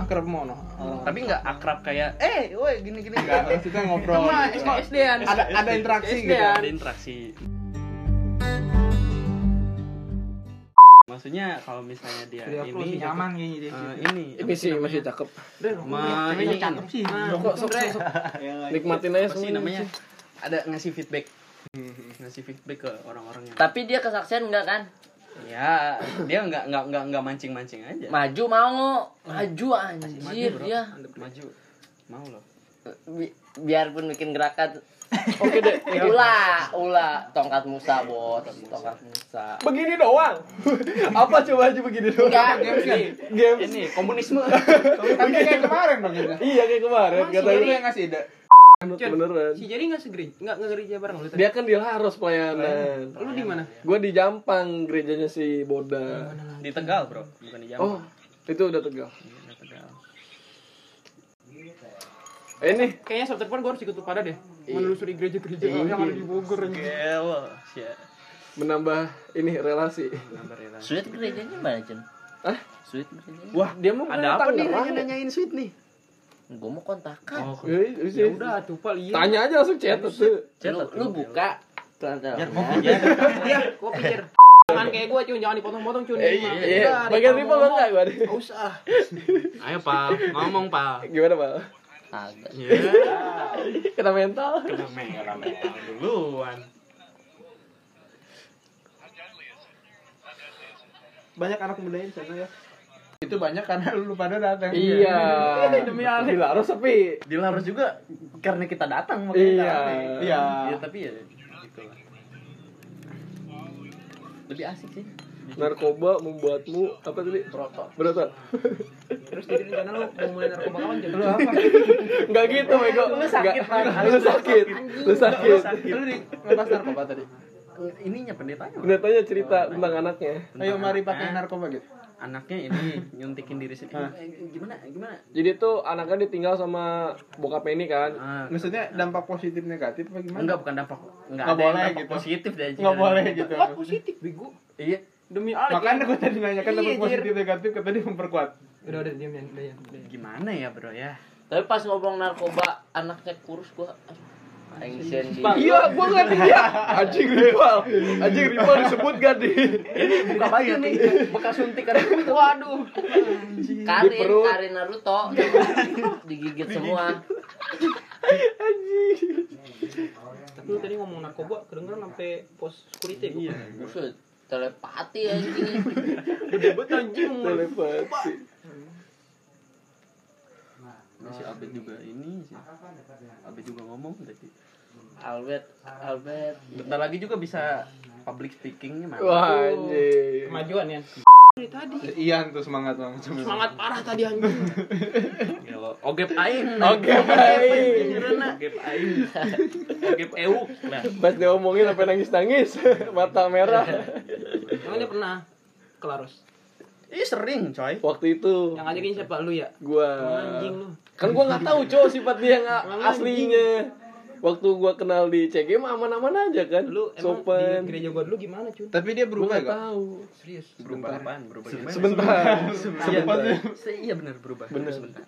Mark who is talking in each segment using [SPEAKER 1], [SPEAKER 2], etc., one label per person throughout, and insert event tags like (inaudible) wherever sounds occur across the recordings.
[SPEAKER 1] akrab mono
[SPEAKER 2] Tapi nggak akrab kayak Oh, eh woi gini gini
[SPEAKER 1] enggak
[SPEAKER 2] enggak.
[SPEAKER 1] kita ngobrol
[SPEAKER 2] Cuma
[SPEAKER 1] gitu.
[SPEAKER 2] cuma
[SPEAKER 3] SD-an.
[SPEAKER 1] ada ada interaksi
[SPEAKER 3] SD-an.
[SPEAKER 1] gitu
[SPEAKER 2] ya? ada interaksi. Maksudnya kalau misalnya dia
[SPEAKER 1] Jadi aku
[SPEAKER 2] ini
[SPEAKER 1] lebih nyaman kayaknya dia
[SPEAKER 2] eh,
[SPEAKER 1] gitu.
[SPEAKER 2] ini
[SPEAKER 4] Ini sih masih cakep.
[SPEAKER 1] Deh, lu
[SPEAKER 2] Ma,
[SPEAKER 1] punya cewek
[SPEAKER 2] ini-
[SPEAKER 1] cakep sih.
[SPEAKER 4] Kok sok sok, sok. Nikmatin aja
[SPEAKER 2] apa sih
[SPEAKER 4] semuanya.
[SPEAKER 2] namanya ada ngasih feedback ngasih feedback ke orang-orang yang
[SPEAKER 5] Tapi dia kesaksian enggak kan?
[SPEAKER 2] ya dia nggak nggak nggak nggak mancing mancing aja
[SPEAKER 5] Maju mau maju anjir iya.
[SPEAKER 2] Maju, bro.
[SPEAKER 5] dia.
[SPEAKER 2] maju mau loh
[SPEAKER 5] Bi- biarpun bikin (laughs) gerakan
[SPEAKER 4] Oke deh.
[SPEAKER 5] ula ula tongkat Musa bos tongkat Musa
[SPEAKER 4] Begini doang. Apa coba aja begini doang?
[SPEAKER 5] Enggak.
[SPEAKER 4] Game.
[SPEAKER 2] ini komunisme
[SPEAKER 1] Kan kayak kemarin dong gitu.
[SPEAKER 4] Iya kayak kemarin
[SPEAKER 3] Emang
[SPEAKER 4] kata
[SPEAKER 3] sih,
[SPEAKER 1] Lu
[SPEAKER 4] lu
[SPEAKER 1] yang ngasih ide.
[SPEAKER 4] beneran.
[SPEAKER 3] Si jadi nggak segeri, nggak ngegerija bareng lu tadi.
[SPEAKER 4] Dia kan di Laros pelayanan.
[SPEAKER 3] Iya. Lu di mana?
[SPEAKER 4] Gue di Jampang gerejanya si Boda.
[SPEAKER 2] di tegal bro bukan di Jawa
[SPEAKER 4] Oh, itu udah tegal.
[SPEAKER 2] Di Tegal.
[SPEAKER 4] Eh, ini
[SPEAKER 3] Kayaknya Sabtu depan gue harus ikut lu pada deh. Menelusuri gereja-gereja
[SPEAKER 4] Iya.
[SPEAKER 3] yang ada di Bogor. anjing.
[SPEAKER 2] gelo sih
[SPEAKER 4] menambah ini relasi.
[SPEAKER 2] gambar ya
[SPEAKER 5] sweet gerejanya gimana Jen?
[SPEAKER 4] Hah?
[SPEAKER 5] sweet gerejanya
[SPEAKER 4] Wah, dia mau
[SPEAKER 2] ada apa nih nanya
[SPEAKER 4] Nanya
[SPEAKER 2] nanyain sweet nih
[SPEAKER 5] gue mau kontakan
[SPEAKER 3] Ya udah tuh pal iya.
[SPEAKER 4] Tanya aja langsung chat tuh.
[SPEAKER 5] lu, lu buka
[SPEAKER 2] biar
[SPEAKER 5] ternyata
[SPEAKER 2] mau aja
[SPEAKER 3] Iya, gue pikir. Jangan kayak gue cun, jangan dipotong-potong cun.
[SPEAKER 4] Eh,
[SPEAKER 3] Ini mah.
[SPEAKER 4] iya.
[SPEAKER 3] Udah,
[SPEAKER 4] Bagian
[SPEAKER 3] deh,
[SPEAKER 4] rival
[SPEAKER 3] kalau
[SPEAKER 4] enggak
[SPEAKER 3] ngomong.
[SPEAKER 4] gua?
[SPEAKER 3] Nggak usah. Ayo pal, ngomong Iya. pal.
[SPEAKER 4] Gimana, Pak?
[SPEAKER 5] kagak
[SPEAKER 2] Iya.
[SPEAKER 4] Kena mental.
[SPEAKER 2] duluan
[SPEAKER 1] Banyak anak muda di sana ya. Itu banyak karena lu pada datang.
[SPEAKER 4] Iya.
[SPEAKER 3] Demi Allah.
[SPEAKER 4] Di Laros sepi.
[SPEAKER 2] di Laros juga karena kita datang
[SPEAKER 4] Iya.
[SPEAKER 2] rame.
[SPEAKER 1] Iya.
[SPEAKER 2] Iya, tapi ya gitu lah lebih asik sih
[SPEAKER 4] Narkoba membuatmu apa tadi? Berotot. Berotot. (laughs)
[SPEAKER 3] Terus jadi rencana lu mau mulai narkoba kapan Cun?
[SPEAKER 1] Lu apa?
[SPEAKER 4] Enggak gitu, Bego.
[SPEAKER 2] Lu sakit,
[SPEAKER 4] Nggak.
[SPEAKER 2] Pak.
[SPEAKER 4] Lu sakit. Lu sakit.
[SPEAKER 1] Lu di lepas narkoba tadi.
[SPEAKER 2] ininya pendetanya Bang.
[SPEAKER 4] Pendetanya ya cerita tentang anaknya.
[SPEAKER 1] Ayo mari pakai
[SPEAKER 2] anaknya.
[SPEAKER 1] narkoba gitu.
[SPEAKER 2] eh, anaknya ini nyuntikin diri sendiri Eh, gimana gimana
[SPEAKER 4] Jadi tuh anaknya ditinggal sama bokapnya ini kan.
[SPEAKER 2] Ah,
[SPEAKER 1] Maksudnya dampak positif negatif apa gimana?
[SPEAKER 2] enggak bukan dampak enggak,
[SPEAKER 1] Nggak
[SPEAKER 2] ada yang
[SPEAKER 1] boleh
[SPEAKER 2] dampak
[SPEAKER 1] gitu.
[SPEAKER 2] positif deh
[SPEAKER 1] Enggak
[SPEAKER 2] jangan.
[SPEAKER 1] boleh gitu.
[SPEAKER 3] Wah positif bego.
[SPEAKER 2] iya
[SPEAKER 3] Demi Allah.
[SPEAKER 1] Makanya gue tadi nanyakan dampak
[SPEAKER 3] Iya, Jir.
[SPEAKER 1] positif negatif kata dia memperkuat.
[SPEAKER 3] Udah udah diam diam diam.
[SPEAKER 2] gimana ya bro ya
[SPEAKER 5] tapi pas ngomong narkoba anaknya kurus gue Ancient di
[SPEAKER 4] Iya, gua ngerti dia. Anjing rival. Anjing rival disebut gak di
[SPEAKER 2] buka baju nih bekas suntikan
[SPEAKER 3] Waduh.
[SPEAKER 4] Di
[SPEAKER 5] Karin,
[SPEAKER 4] perut.
[SPEAKER 5] Karin (laughs) Naruto digigit semua.
[SPEAKER 3] Tapi lu tadi ngomong narkoba kedengeran sampai pos security gua.
[SPEAKER 2] iya
[SPEAKER 5] Buset, telepati anjing.
[SPEAKER 3] Gede banget anjing ngomong.
[SPEAKER 4] telepati.
[SPEAKER 2] si Abed juga ini sih Abed juga ngomong tadi
[SPEAKER 5] Albert, Albert.
[SPEAKER 2] bentar lagi juga bisa public speakingnya mana
[SPEAKER 4] Wah, anjing.
[SPEAKER 3] Kemajuan ya. Dari tadi.
[SPEAKER 1] Iya tuh semangat banget.
[SPEAKER 3] Semangat parah tadi anjing.
[SPEAKER 2] Gelo. Ya, ogep aing
[SPEAKER 4] Oke, baik.
[SPEAKER 2] ogep aing ogep Nah. euk lah
[SPEAKER 4] Pas dia omongin sampai nangis-nangis, (laughs) mata merah.
[SPEAKER 3] Emang dia pernah ke Laros.
[SPEAKER 2] ih sering coy
[SPEAKER 4] Waktu itu
[SPEAKER 3] Yang ngajakin siapa lu ya?
[SPEAKER 4] gua
[SPEAKER 3] Anjing lu.
[SPEAKER 4] kan gua nggak tahu cowok sifat dia yang
[SPEAKER 3] Emang
[SPEAKER 4] aslinya. Waktu gua kenal di CG mah aman-aman aja kan.
[SPEAKER 3] Lu emang di
[SPEAKER 4] sopan.
[SPEAKER 3] gereja gua dulu gimana, Cun?
[SPEAKER 1] Tapi dia
[SPEAKER 4] Gua
[SPEAKER 1] berubah
[SPEAKER 4] nggak
[SPEAKER 1] gak?
[SPEAKER 4] tahu.
[SPEAKER 3] Serius.
[SPEAKER 2] berubah apaan berubah gimana
[SPEAKER 4] Sebentar.
[SPEAKER 2] iya
[SPEAKER 4] Sebentar.
[SPEAKER 2] Se- iya benar berubah benar sebentar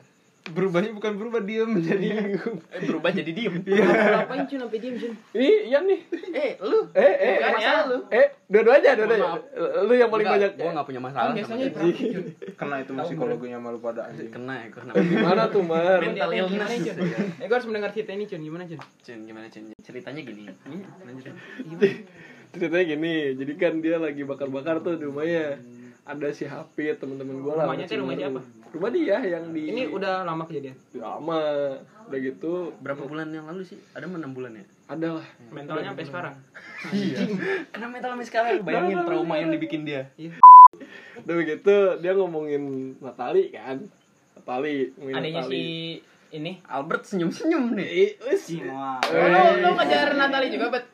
[SPEAKER 1] Berubahnya bukan berubah diem jadi
[SPEAKER 2] eh, berubah jadi diem Iya.
[SPEAKER 3] Ngapain Cun sampai diem, Cun?
[SPEAKER 4] Ini Ian iya nih.
[SPEAKER 2] eh lu
[SPEAKER 4] Eh, eh,
[SPEAKER 2] Bukan ya.
[SPEAKER 4] eh, eh, dua-duanya, dua-duanya.
[SPEAKER 2] Maaf.
[SPEAKER 4] Lu yang paling
[SPEAKER 2] Enggak,
[SPEAKER 4] banyak.
[SPEAKER 2] gua nggak punya masalah sama
[SPEAKER 3] Biasanya
[SPEAKER 2] dia.
[SPEAKER 3] di
[SPEAKER 1] kena itu sama psikologinya malu pada anjing.
[SPEAKER 2] kena ya (laughs) kena
[SPEAKER 4] Gimana tuh, Mar?
[SPEAKER 2] mental
[SPEAKER 3] Gimana,
[SPEAKER 2] illness
[SPEAKER 3] Cun? Eh, gua harus mendengar cerita ini, Cun. Gimana, Cun?
[SPEAKER 2] Cun, gimana Cun? ceritanya gini lanjut
[SPEAKER 4] Ceritanya gini, jadi kan dia lagi bakar-bakar tuh di rumahnya. Ada si HP teman-teman gua lah.
[SPEAKER 3] Rumahnya tuh rumah
[SPEAKER 4] Cimaru.
[SPEAKER 3] siapa?
[SPEAKER 4] Rumah dia yang di
[SPEAKER 3] Ini udah lama kejadian.
[SPEAKER 4] lama. Udah gitu
[SPEAKER 2] berapa bulan yang lalu sih ada enam bulan ya
[SPEAKER 4] ada lah.
[SPEAKER 3] Mentalnya sampai sekarang.
[SPEAKER 2] kena mental sampai sekarang bayangin trauma yang dibikin dia
[SPEAKER 4] Udah begitu dia ngomongin Natali kan. Natali, ngomongin
[SPEAKER 3] Adanya
[SPEAKER 4] Natali.
[SPEAKER 3] si ini.
[SPEAKER 2] Albert senyum senyum nih
[SPEAKER 4] Eh, wes.
[SPEAKER 3] Oh, lu, lu ngajar Natali juga, Bet.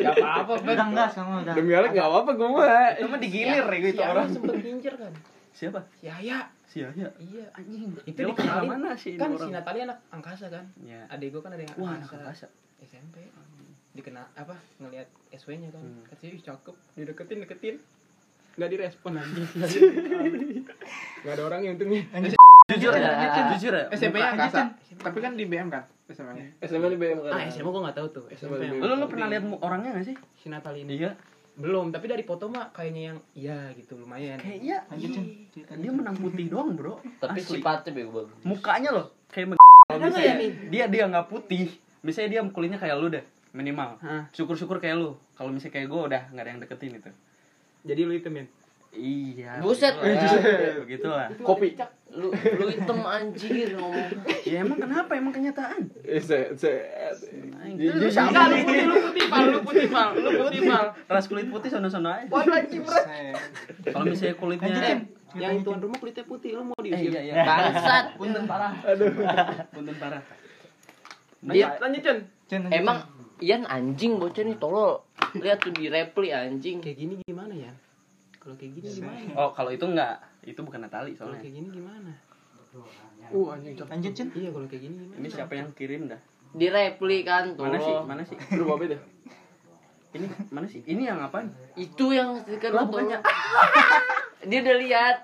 [SPEAKER 3] Gak apa-apa, Bet.
[SPEAKER 1] Enggak sama udah.
[SPEAKER 4] Demi Allah enggak apa-apa gua mah.
[SPEAKER 2] cuma digilir ya gitu
[SPEAKER 3] Si
[SPEAKER 2] orang
[SPEAKER 3] orang Iya, sempet ngincer kan.
[SPEAKER 2] siapa
[SPEAKER 3] Si Yaya.
[SPEAKER 2] si Yahya
[SPEAKER 3] Iya.
[SPEAKER 2] anjing
[SPEAKER 3] Itu
[SPEAKER 2] Dia kenal
[SPEAKER 3] dikenalin.
[SPEAKER 2] mana sih
[SPEAKER 3] Kan
[SPEAKER 2] ini
[SPEAKER 3] si
[SPEAKER 2] orang?
[SPEAKER 3] Natali anak angkasa kan.
[SPEAKER 2] ya
[SPEAKER 3] Adik gua kan ada yang
[SPEAKER 2] wah anak angkasa
[SPEAKER 3] SMP dikena apa ngelihat SW-nya kan
[SPEAKER 2] Hmm.
[SPEAKER 3] katanya ih cakep dideketin
[SPEAKER 2] (laughs)
[SPEAKER 3] deketin nggak direspon lagi nggak ada orang yang untungnya
[SPEAKER 2] jujur aja
[SPEAKER 5] Ya.
[SPEAKER 2] Cen, jujur ya
[SPEAKER 3] SMP nya
[SPEAKER 1] Mukanya, Cen.
[SPEAKER 3] angkasa
[SPEAKER 1] Tapi kan di BM kan SMA nya.
[SPEAKER 4] SMA di BM kan
[SPEAKER 3] ah SMA gua nggak tahu tuh
[SPEAKER 4] SMA
[SPEAKER 3] SMA yang
[SPEAKER 4] dulu.
[SPEAKER 2] lu lu pernah lihat mu- orangnya gak sih
[SPEAKER 3] si Natalina
[SPEAKER 2] iya
[SPEAKER 3] belum tapi dari foto mah kayaknya yang iya gitu lumayan
[SPEAKER 2] kayaknya
[SPEAKER 1] Lanjut, Cen.
[SPEAKER 2] iya. dia menang putih doang bro
[SPEAKER 5] Tapi
[SPEAKER 2] Asli.
[SPEAKER 5] sifatnya bego bagus.
[SPEAKER 2] mukanya loh kayak men-
[SPEAKER 3] Ada nggak ya?
[SPEAKER 2] dia dia nggak putih misalnya dia kulitnya kayak lu deh minimal
[SPEAKER 3] Hah.
[SPEAKER 2] syukur-syukur kayak lu kalau misalnya kayak gua udah nggak ada yang deketin itu
[SPEAKER 3] jadi lu itu men
[SPEAKER 2] iya
[SPEAKER 5] Buset.
[SPEAKER 2] begitulah, begitulah.
[SPEAKER 4] kopi
[SPEAKER 5] Lu lu hitam anjir ngomong.
[SPEAKER 2] ya emang kenapa emang kenyataan Nah,
[SPEAKER 4] Eh, se- se-
[SPEAKER 2] Lu
[SPEAKER 4] Jijik.
[SPEAKER 2] sama
[SPEAKER 3] Enggak, lu
[SPEAKER 5] iya.
[SPEAKER 3] putih lu putih pal lu putih pal lu putih pal
[SPEAKER 2] ras kulit putih sono-sono aja kalau misalnya kulitnya
[SPEAKER 3] yang tuan rumah kulitnya putih lu mau
[SPEAKER 2] Eh,
[SPEAKER 3] diusir
[SPEAKER 2] iya.
[SPEAKER 5] Bangsat.
[SPEAKER 2] punten parah
[SPEAKER 4] aduh
[SPEAKER 2] punten parah
[SPEAKER 5] Dia
[SPEAKER 3] lanjut Cun
[SPEAKER 5] emang Ian anjing bocah nih tolol. Lihat tuh di repli anjing.
[SPEAKER 3] kayak gini gimana ya kalau kayak gini gimana
[SPEAKER 2] oh kalau itu enggak itu bukan Natali
[SPEAKER 3] kalau
[SPEAKER 2] soalnya
[SPEAKER 3] kayak gini gimana
[SPEAKER 1] Uh anjing cakep. Lanjut Cen.
[SPEAKER 3] iya kalau kayak gini gimana
[SPEAKER 2] ini siapa yang kirim dah
[SPEAKER 5] Di repli kan
[SPEAKER 2] mana sih
[SPEAKER 5] tolol.
[SPEAKER 2] mana sih
[SPEAKER 4] aduh apa itu
[SPEAKER 2] ini mana sih ini yang apaan
[SPEAKER 5] Itu yang stiker
[SPEAKER 2] Lah,
[SPEAKER 5] lu
[SPEAKER 2] bukannya.
[SPEAKER 5] tolol. (laughs) Dia udah lihat.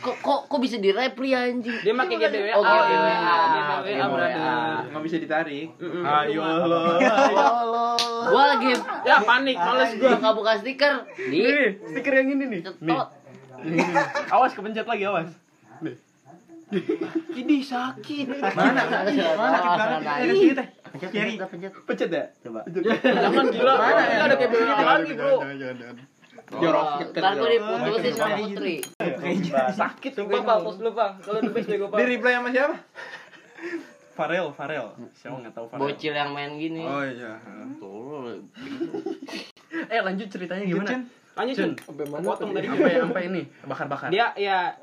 [SPEAKER 5] Kok kok kok bisa di repli anjing?
[SPEAKER 3] dia pakai GBWA
[SPEAKER 5] Oh, GBWA.
[SPEAKER 3] dia pakai
[SPEAKER 5] GBWA.
[SPEAKER 3] brother
[SPEAKER 1] Nggak bisa ditarik.
[SPEAKER 2] ayo lo
[SPEAKER 5] Gua lagi
[SPEAKER 3] ya panik males gua
[SPEAKER 5] buka buka stiker. Di
[SPEAKER 2] ini stiker yang ini nih
[SPEAKER 5] cetot.
[SPEAKER 2] (laughs) awas kepencet lagi awas
[SPEAKER 1] Ini sakit.
[SPEAKER 5] (laughs) Mana? Mana?
[SPEAKER 1] Sakit banget. Ini
[SPEAKER 2] eh.
[SPEAKER 1] sakit teh. Kiri.
[SPEAKER 2] pencet ya coba
[SPEAKER 3] jangan gila
[SPEAKER 1] Mana ya?
[SPEAKER 3] Ini ada GBWA lagi bro
[SPEAKER 5] Jorok. Oh, Ntar gua diputusin sama
[SPEAKER 1] Jangan,
[SPEAKER 5] putri.
[SPEAKER 3] sakit sumpah pal post lu pal kalau lu best gue
[SPEAKER 1] Di reply sama siapa?
[SPEAKER 2] Farel Farel siapa nggak tahu Farel
[SPEAKER 5] Bocil yang main gini.
[SPEAKER 2] oh iya
[SPEAKER 5] Tolol.
[SPEAKER 2] eh lanjut ceritanya gimana
[SPEAKER 1] Cen.
[SPEAKER 3] lanjut Cun
[SPEAKER 4] sampai mana
[SPEAKER 3] potong
[SPEAKER 4] tadi?
[SPEAKER 3] dari
[SPEAKER 2] sampai sampai ini bakar bakar
[SPEAKER 3] dia ya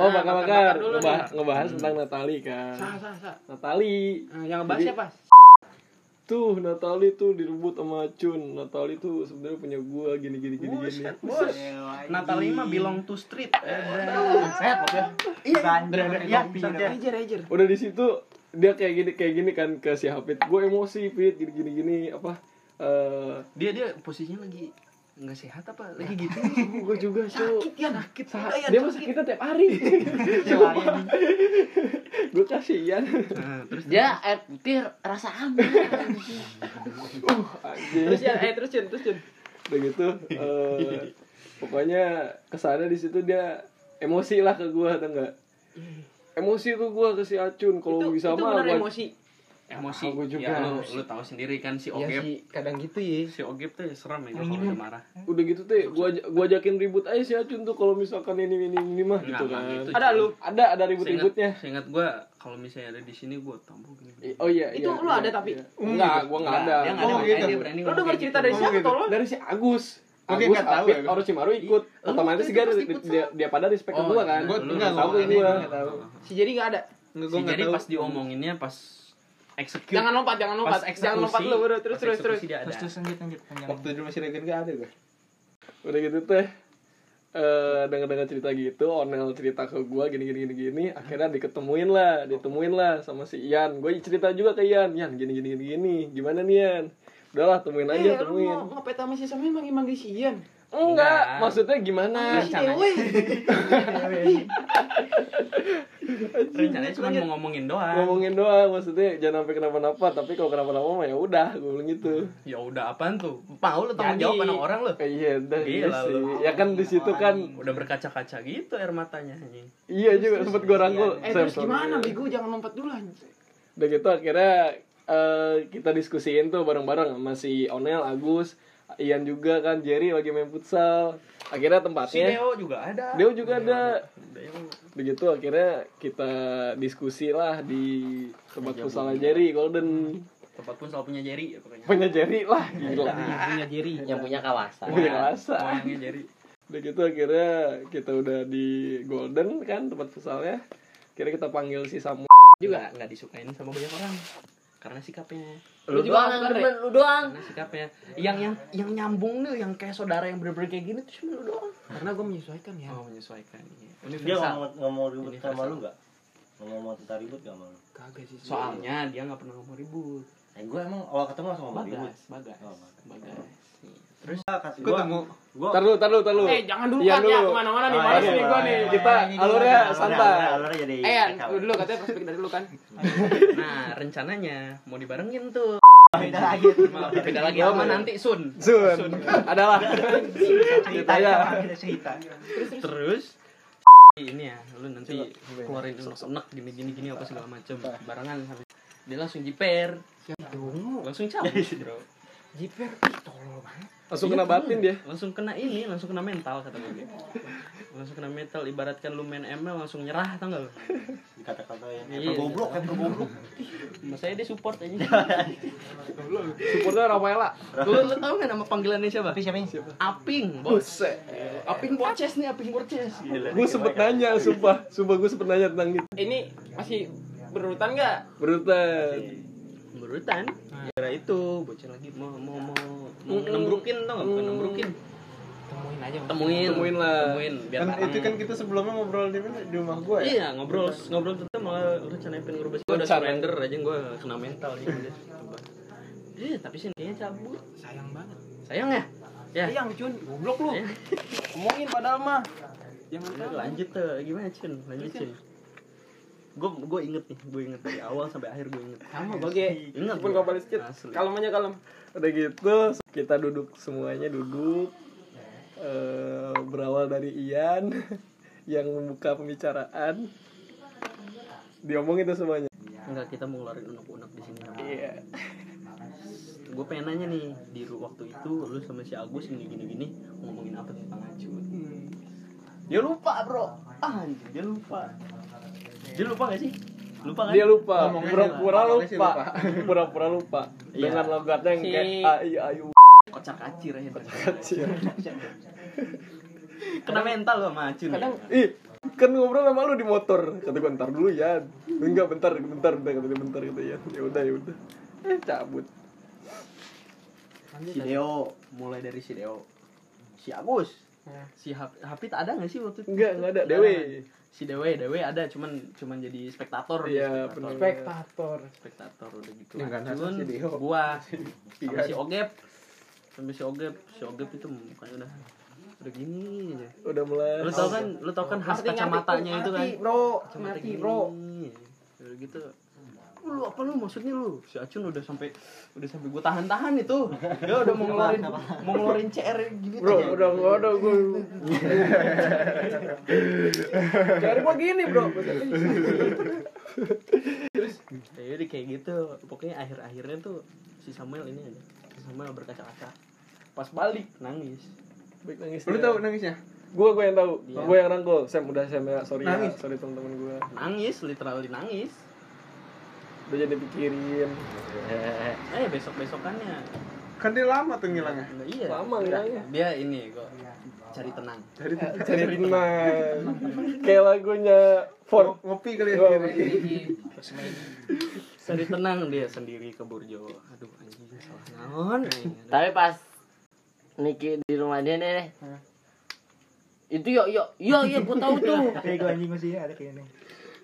[SPEAKER 4] oh
[SPEAKER 3] Nah,
[SPEAKER 4] bakar bakar
[SPEAKER 3] dulu nih.
[SPEAKER 4] Ngebah- ngebahas tentang Natali kan
[SPEAKER 3] sah sah sah
[SPEAKER 4] Natali
[SPEAKER 3] Nah, yang ngebahas
[SPEAKER 4] Jadi-
[SPEAKER 3] siapa
[SPEAKER 4] tuh Natali tuh direbut sama Cun Natali tuh sebenarnya punya gua gini gini gini gini
[SPEAKER 2] Buset, bos. Nah, Natali mah belong to street. Eh,
[SPEAKER 1] Set ya. Iya. Iya.
[SPEAKER 3] Ranger
[SPEAKER 2] ya.
[SPEAKER 3] Ranger
[SPEAKER 4] udah di situ dia kayak gini kayak gini kan ke si Hafid gue emosi Fit gini gini gini apa eh
[SPEAKER 2] Dia dia posisinya lagi nggak sehat apa lagi gitu.
[SPEAKER 4] gue juga Cuk.
[SPEAKER 3] sakit ya sakit Iya,
[SPEAKER 4] Sa- dia mah sakitnya tiap hari gue kasihan
[SPEAKER 2] terus
[SPEAKER 5] Dia air putih rasa (laughs) aman.
[SPEAKER 4] anjing
[SPEAKER 3] terus ya eh terus Cun terus Cun
[SPEAKER 4] udah gitu eh, pokoknya kesannya di situ dia emosi lah ke gue atau enggak emosi tuh gue ke si Acun kalau
[SPEAKER 3] Iya, itu
[SPEAKER 4] bisa
[SPEAKER 3] itu
[SPEAKER 4] mah
[SPEAKER 3] benar
[SPEAKER 4] gua-
[SPEAKER 3] emosi
[SPEAKER 2] emosi.
[SPEAKER 4] Aku juga.
[SPEAKER 2] Ya, lu, lu tahu sendiri kan si
[SPEAKER 3] Iya
[SPEAKER 2] Ogep.
[SPEAKER 3] sih kadang gitu ya
[SPEAKER 2] Si Ogep tuh serem ya kalau udah marah.
[SPEAKER 4] udah gitu teh gue gua ajakin ribut aja si Acun tuh kalau misalkan ini ini ini mah gitu
[SPEAKER 2] Nggak, nggak
[SPEAKER 4] kan
[SPEAKER 2] gitu,
[SPEAKER 3] ada
[SPEAKER 2] cuy.
[SPEAKER 3] lu
[SPEAKER 4] ada ada ribut-ributnya
[SPEAKER 2] Seingat gua kalau misalnya ada di sini gua tampol gini.
[SPEAKER 4] I- oh iya
[SPEAKER 3] Itu
[SPEAKER 4] iya,
[SPEAKER 3] lu
[SPEAKER 4] iya,
[SPEAKER 3] ada tapi?
[SPEAKER 4] iya. enggak gua enggak ada
[SPEAKER 2] Dia nggak
[SPEAKER 1] Oh,
[SPEAKER 2] ada makanya
[SPEAKER 1] gitu.
[SPEAKER 2] dia berani
[SPEAKER 3] Lo
[SPEAKER 2] ngomong
[SPEAKER 3] dengar
[SPEAKER 2] kayak
[SPEAKER 3] cerita
[SPEAKER 2] gitu.
[SPEAKER 3] dari siapa
[SPEAKER 1] gitu.
[SPEAKER 3] tolong?
[SPEAKER 4] dari si Agus
[SPEAKER 1] Oke,
[SPEAKER 4] Agus
[SPEAKER 1] nggak tahu
[SPEAKER 4] Apit,
[SPEAKER 1] ya, gua.
[SPEAKER 4] Harus Cimaru ikut
[SPEAKER 2] Lu
[SPEAKER 3] oh,
[SPEAKER 4] otomatis
[SPEAKER 2] waktu itu
[SPEAKER 4] kan
[SPEAKER 2] pas
[SPEAKER 4] dia,
[SPEAKER 2] ikut
[SPEAKER 4] dia, dia pada respect
[SPEAKER 2] Oh,
[SPEAKER 4] ke gua kan
[SPEAKER 2] iya. Gua
[SPEAKER 4] Lu
[SPEAKER 2] enggak
[SPEAKER 4] tahu
[SPEAKER 2] tahu
[SPEAKER 4] ini
[SPEAKER 2] ini,
[SPEAKER 4] gua
[SPEAKER 2] enggak tahu.
[SPEAKER 3] Si Jadi nggak ada.
[SPEAKER 1] Enggak
[SPEAKER 2] Si jadi pas diomonginnya pas execute.
[SPEAKER 3] Jangan lompat, jangan
[SPEAKER 2] pas
[SPEAKER 3] lompat,
[SPEAKER 2] eksekusi.
[SPEAKER 3] jangan lompat lu bro. Terus
[SPEAKER 2] pas
[SPEAKER 3] terus terus.
[SPEAKER 2] eksekusi dia ada.
[SPEAKER 1] Terus terus lanjut lanjut. Waktu di rumah si Regen nggak ada gue.
[SPEAKER 4] udah gitu teh eh dengar-dengar cerita gitu Onel cerita ke gua gini gini gini gini akhirnya diketemuin lah ditemuin lah sama si Ian gue cerita juga ke Ian Ian gini gini gini gini gimana nih Ian udahlah temuin
[SPEAKER 3] Eh,
[SPEAKER 4] aja
[SPEAKER 3] lu mau
[SPEAKER 4] temuin
[SPEAKER 3] ngepet sama si Sami manggil manggil si Ian.
[SPEAKER 4] enggak
[SPEAKER 2] Enggak.
[SPEAKER 4] maksudnya gimana
[SPEAKER 3] Manggil si Dewe.
[SPEAKER 2] rencananya cuma mau ngomongin doang.
[SPEAKER 4] ngomongin doang maksudnya jangan sampai kenapa-napa tapi kalau kenapa-napa mah ya udah gue bilang gitu
[SPEAKER 2] Ya udah apaan tuh? Mau lu tanggung
[SPEAKER 3] Jadi-
[SPEAKER 2] jawab sama orang lu.
[SPEAKER 4] Eh, iya udah iya
[SPEAKER 2] Gila
[SPEAKER 4] sih
[SPEAKER 2] lu.
[SPEAKER 4] ya kan di situ kan
[SPEAKER 2] Udah berkaca-kaca gitu air matanya anjing.
[SPEAKER 4] iya juga sempet gue rangkul
[SPEAKER 3] Eh
[SPEAKER 4] Sam,
[SPEAKER 3] terus
[SPEAKER 4] sorry.
[SPEAKER 3] gimana bego jangan lompat dulu anjing.
[SPEAKER 4] udah gitu akhirnya eh, kita diskusiin tuh bareng-bareng sama si Onel Agus Ian juga kan Jerry lagi main futsal akhirnya
[SPEAKER 2] Si
[SPEAKER 4] tempatnya
[SPEAKER 2] Deo juga ada.
[SPEAKER 4] Iya. Deo juga ada
[SPEAKER 2] Deo.
[SPEAKER 4] begitu akhirnya kita diskusi lah di
[SPEAKER 2] Iya,
[SPEAKER 4] tempat futsal Jerry Golden
[SPEAKER 2] Tempat pun selalu punya Jerry ya pokoknya.
[SPEAKER 4] punya Jerry lah gila
[SPEAKER 3] Punya Jerry.
[SPEAKER 5] Yang punya kawasan.
[SPEAKER 4] punya rasa
[SPEAKER 2] Moyangnya Jerry.
[SPEAKER 4] Udah gitu akhirnya kita udah di Golden kan tempat futsalnya. Kira kita panggil si Samu.
[SPEAKER 2] Juga nggak disukain sama banyak orang. Karena sikapnya.
[SPEAKER 5] Lu doang yang
[SPEAKER 3] ya?
[SPEAKER 5] demen, lu doang.
[SPEAKER 2] Karena sikapnya. Yang yang yang nyambung nih, yang kayak saudara yang bener-bener kayak gini tuh cuma lu doang.
[SPEAKER 3] Karena gue menyesuaikan ya.
[SPEAKER 2] Oh menyesuaikan. iya.
[SPEAKER 6] Dia
[SPEAKER 2] Universal.
[SPEAKER 6] ngomong, ngomong ribut
[SPEAKER 2] Universal.
[SPEAKER 6] sama lu gak? Ngomong tentang ribut gak sama lu?
[SPEAKER 3] Kagak sih. Soalnya
[SPEAKER 2] Soalnya dia nggak pernah ngomong ribut.
[SPEAKER 6] Eh, gue emang awal ketemu langsung ngomong ribut
[SPEAKER 2] Bagas, bagas,
[SPEAKER 6] Oh,
[SPEAKER 2] bagas. Iya.
[SPEAKER 7] Terus kata gua,
[SPEAKER 4] ketemu
[SPEAKER 7] gua
[SPEAKER 4] Tar dulu, tar dulu, tar dulu.
[SPEAKER 3] Eh, jangan dulu
[SPEAKER 4] Iya,
[SPEAKER 3] kan ya
[SPEAKER 4] dulu.
[SPEAKER 3] kemana-mana nih,
[SPEAKER 7] Ah,
[SPEAKER 3] males
[SPEAKER 7] iya,
[SPEAKER 3] nih gua
[SPEAKER 7] iya,
[SPEAKER 3] nih.
[SPEAKER 7] iya.
[SPEAKER 4] Kita alurnya
[SPEAKER 7] Alurnya-
[SPEAKER 4] santai.
[SPEAKER 7] alurnya jadi
[SPEAKER 3] Eh, Yan,
[SPEAKER 7] kacau.
[SPEAKER 3] lu dulu katanya prospek dari dulu kan.
[SPEAKER 2] Nah, rencananya mau dibarengin tuh.
[SPEAKER 7] Beda lagi.
[SPEAKER 2] Maaf, beda lagi sama nanti Sun.
[SPEAKER 4] Sun, adalah
[SPEAKER 7] Cerita
[SPEAKER 4] ya.
[SPEAKER 7] Kita cerita.
[SPEAKER 2] Terus ini ya, lu nanti keluarin unek-unek gini gini gini apa segala macem barengan habis dia langsung jiper langsung cabut
[SPEAKER 7] Iya,
[SPEAKER 2] bro
[SPEAKER 3] Jiper, ih tolol banget.
[SPEAKER 4] langsung kena batin dia.
[SPEAKER 2] langsung kena ini langsung kena mental kata gue langsung kena mental ibaratkan lu main ML langsung nyerah tau gak lu
[SPEAKER 7] Dikata-katain.
[SPEAKER 2] Iya.
[SPEAKER 7] Eh, goblok, eh, goblok.
[SPEAKER 2] saya dia support
[SPEAKER 7] (laughs)
[SPEAKER 2] aja
[SPEAKER 4] Supportnya Rafaela.
[SPEAKER 2] lu, lu tau gak nama panggilannya siapa? siapa Aping bos Aping Borces nih Aping Borces
[SPEAKER 4] Gue sempet nanya, sumpah, sumpah gue sempet nanya tentang gitu. itu.
[SPEAKER 3] Ini masih berurutan nggak?
[SPEAKER 4] Berutan.
[SPEAKER 2] berurutan gara itu bocil lagi mau mau mau, mau nembrukin tau gak bukan nembrukin
[SPEAKER 3] Temuin aja. Mas.
[SPEAKER 2] temuin
[SPEAKER 4] Temuin lah.
[SPEAKER 2] temuin biar
[SPEAKER 1] Kan
[SPEAKER 2] tarang.
[SPEAKER 1] itu kan kita sebelumnya ngobrol di mana? Di rumah gua ya.
[SPEAKER 2] Iya ngobrol ngobrol tentang malah rencana pengen ngerubah gue udah
[SPEAKER 4] Rencana.
[SPEAKER 2] surrender aja gue kena mental aja udah coba. Iya tapi sih kayaknya cabut
[SPEAKER 3] Sayang banget.
[SPEAKER 2] sayang ya. Ya.
[SPEAKER 3] Sayang, Cun. Iya, Goblok lu.
[SPEAKER 2] Sayang.
[SPEAKER 3] Ngomongin padahal mah. Yang
[SPEAKER 2] Udah, Iya, lanjut Iya, tuh gimana cun lanjut cun. Gue gue inget nih gue inget dari awal sampai akhir gue inget. Iya,
[SPEAKER 3] sama gue ge.
[SPEAKER 2] Ingat
[SPEAKER 4] Pun kau balik sedikit.
[SPEAKER 2] Asli.
[SPEAKER 4] Kalem aja kalem. Udah gitu, kita duduk semuanya duduk. Eh, berawal dari Ian (laughs) yang membuka pembicaraan. Diomongin tuh semuanya.
[SPEAKER 2] Enggak kita mau ngeluarin unek-unek di sini.
[SPEAKER 4] Iya.
[SPEAKER 2] Gue pengen nanya nih di ru- waktu itu lu sama si Agus gini gini gini ngomongin apa tentang acut. Dia lupa bro. Ah, anjing, dia lupa. Dia lupa gak sih? Lupa kan?
[SPEAKER 4] Dia lupa,
[SPEAKER 1] Ngomongnya
[SPEAKER 4] pura-pura
[SPEAKER 1] sih- ngomongnya sih
[SPEAKER 4] lupa, (laughs) pura-pura lupa.
[SPEAKER 2] Iya.
[SPEAKER 4] Dengan logatnya yang kayak
[SPEAKER 3] Si-
[SPEAKER 4] ai ayu
[SPEAKER 2] kocak acir aja
[SPEAKER 4] kecil.
[SPEAKER 2] kena mental lo sama Acun
[SPEAKER 3] Kadang
[SPEAKER 4] Ih, kan ngobrol sama lu di motor. Kata gua ntar dulu ya. Enggak bentar, bentar, bentar, kata dia, bentar gitu ya. Ya udah, ya udah. Eh, cabut.
[SPEAKER 2] si Deo mulai dari si Deo si Agus si Hap- Hapit ada gak sih waktu itu
[SPEAKER 4] Enggak, enggak Ya. ada. Dewe.
[SPEAKER 2] si Dewe Dewe ada cuman cuman jadi spektator dia,
[SPEAKER 4] Iya,
[SPEAKER 2] spektator.
[SPEAKER 4] bener.
[SPEAKER 1] Spektator.
[SPEAKER 2] spektator udah gitu
[SPEAKER 1] Yang nggak
[SPEAKER 2] Acun,
[SPEAKER 1] nasa si Deo.
[SPEAKER 4] (laughs)
[SPEAKER 2] gua sama
[SPEAKER 4] Iya.
[SPEAKER 2] si Ogep sama si Ogep si Ogep itu mukanya udah udah gini aja
[SPEAKER 4] Udah mulai.
[SPEAKER 2] lu tau kan lu tau kan khas
[SPEAKER 3] Ngerti, ngerti,
[SPEAKER 2] kacamatanya itu kan
[SPEAKER 3] ngerti, Bro,
[SPEAKER 2] Kacamata
[SPEAKER 3] mati,
[SPEAKER 2] gini.
[SPEAKER 3] Bro.
[SPEAKER 2] Udah gitu lu apa lu maksudnya lu si Acun udah sampai udah sampai gue tahan-tahan itu dia udah mau ngeluarin mau ngeluarin CR gitu
[SPEAKER 4] Bro, udah enggak ada gua. Cari gua gini, Bro.
[SPEAKER 2] ya udah kayak gitu pokoknya akhir-akhirnya tuh si Samuel ini aja si Samuel berkaca-kaca pas balik nangis
[SPEAKER 4] Baik nangis.
[SPEAKER 1] Lu
[SPEAKER 4] ya.
[SPEAKER 1] tahu nangisnya?
[SPEAKER 4] Gua gua yang tahu.
[SPEAKER 2] Iya.
[SPEAKER 4] Gua yang rangkul. Sam udah Sam ya, sorry ya.
[SPEAKER 1] Nangis.
[SPEAKER 4] Sorry teman-teman gua.
[SPEAKER 2] nangis literally nangis
[SPEAKER 4] Udah jadi pikirin.
[SPEAKER 2] eh besok besokannya
[SPEAKER 1] Kan dia lama tuh ngilangnya.
[SPEAKER 2] Nah, iya
[SPEAKER 4] Lama ngilangnya.
[SPEAKER 2] dia ini kok cari (laughs) tenang
[SPEAKER 1] Jadi
[SPEAKER 4] Cari tenang. Kayak lagunya For
[SPEAKER 1] ngopi kali ya.
[SPEAKER 4] Gua
[SPEAKER 1] kiri.
[SPEAKER 3] Iya.
[SPEAKER 2] cari tenang dia sendiri ke Burjo aduh anjing salah naon Aduh.
[SPEAKER 5] Tapi pas Niki di rumah dia nih.
[SPEAKER 3] Hmm.
[SPEAKER 5] Itu yo yo yo yo gua tahu tuh.
[SPEAKER 8] Kayak gue anjing masih ada kayak ini.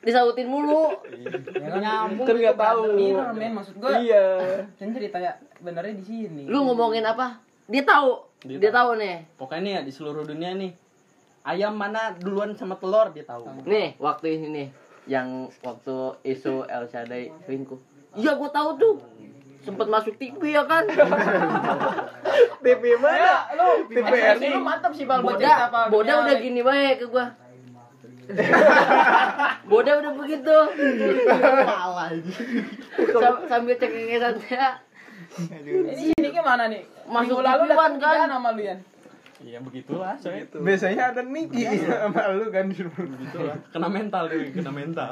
[SPEAKER 5] Disautin mulu.
[SPEAKER 3] Nyambung.
[SPEAKER 4] Kan nggak tahu.
[SPEAKER 3] Mirror, men maksud gue.
[SPEAKER 4] Iya.
[SPEAKER 3] Kan cerita ya benernya di sini.
[SPEAKER 5] Lu ngomongin apa? Dia tahu.
[SPEAKER 2] Dia
[SPEAKER 5] Dia tahu nih.
[SPEAKER 2] pokoknya nih ya, di seluruh dunia nih ayam mana duluan sama telur dia tahu
[SPEAKER 5] Nih, waktu ini nih yang waktu isu El Shaddai selingkuh. Iya, gua tahu tuh. Sempet masuk TV ya
[SPEAKER 3] (laughs)
[SPEAKER 5] kan?
[SPEAKER 4] TV mana? Lu TVRI.
[SPEAKER 3] Lu mantap sih Bal buat cerita apa. Iya,
[SPEAKER 5] Boda, Boda udah gini baik ke gua. (laughs) Boda udah begitu. Sam- sambil ya. cengengesan saya
[SPEAKER 3] Ini ini gimana nih?
[SPEAKER 5] Masuk
[SPEAKER 3] Minggu lalu udah
[SPEAKER 5] tujuan, kan?
[SPEAKER 3] kan sama lu Yan.
[SPEAKER 2] ya begitulah saya
[SPEAKER 1] Biasanya ada Niki sama lu kan di rumah.
[SPEAKER 2] begitulah kena mental dia kena (laughs) mental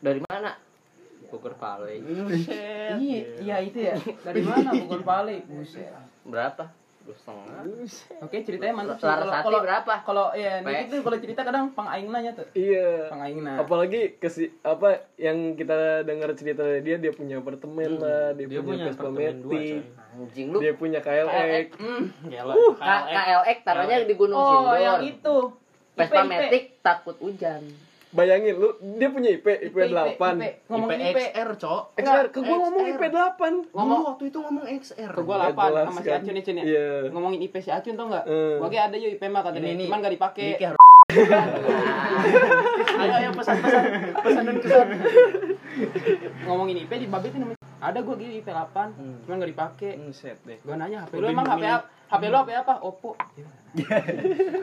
[SPEAKER 5] dari mana?
[SPEAKER 2] Bogor Pale
[SPEAKER 3] Iya, iya itu ya. Dari mana Bogor Bali? Buset.
[SPEAKER 5] Berapa? Dua setengah.
[SPEAKER 3] Oke, ceritanya mantap sih.
[SPEAKER 5] Laras
[SPEAKER 3] Kalau-
[SPEAKER 5] hati
[SPEAKER 3] kalau-
[SPEAKER 5] berapa?
[SPEAKER 3] Kalau ya
[SPEAKER 5] Pe.
[SPEAKER 3] Niki tuh kalau cerita kadang pangaing nanya tuh.
[SPEAKER 4] Iya.
[SPEAKER 3] Pangaing nanya.
[SPEAKER 4] apalagi ke si- apa yang kita dengar cerita dari dia dia punya apartemen lah Hmm. dia,
[SPEAKER 2] dia
[SPEAKER 4] punya
[SPEAKER 2] punya
[SPEAKER 4] Vespa
[SPEAKER 2] apartemen dua,
[SPEAKER 4] Matic,
[SPEAKER 5] Anjing lu.
[SPEAKER 4] dia punya KLX
[SPEAKER 2] Gila,
[SPEAKER 5] K- KLX taruhnya di Gunung
[SPEAKER 3] Oh,
[SPEAKER 5] Sindur.
[SPEAKER 3] yang itu.
[SPEAKER 5] Vespa
[SPEAKER 3] IP.
[SPEAKER 5] Matic takut hujan.
[SPEAKER 4] bayangin lu dia punya IP IP 8
[SPEAKER 3] IP. Ngomongin IP.
[SPEAKER 2] IPXR, Cok.
[SPEAKER 4] XR ke gua ngomong
[SPEAKER 3] XR.
[SPEAKER 4] IP 8
[SPEAKER 2] Ngomong
[SPEAKER 3] Ngomong-
[SPEAKER 2] waktu itu ngomong XR.
[SPEAKER 3] Ke gua
[SPEAKER 4] Ya,
[SPEAKER 3] 8
[SPEAKER 4] jelas
[SPEAKER 3] sama si
[SPEAKER 4] kan.
[SPEAKER 3] Acun nih Cun ya.
[SPEAKER 4] Iya.
[SPEAKER 3] Ngomongin IP si Acun tau enggak?
[SPEAKER 4] Eh.
[SPEAKER 3] Gua kayak ada yo IP mah kata dia.
[SPEAKER 2] Ini, ini.
[SPEAKER 3] Cuman gak dipake.
[SPEAKER 2] Ini kayak
[SPEAKER 3] Ayo ayo pesan-pesan pesanan kesan. (laughs) Ngomongin IP dibabetin sama ada gua gini IP 8
[SPEAKER 2] Hmm.
[SPEAKER 3] cuman gak dipake.
[SPEAKER 2] Ngeset deh.
[SPEAKER 3] Gua Eh, nanya HP lu
[SPEAKER 2] Lebih
[SPEAKER 3] emang HP
[SPEAKER 2] memilih-
[SPEAKER 3] apa? HP lu HP apa? Oppo.
[SPEAKER 2] Dia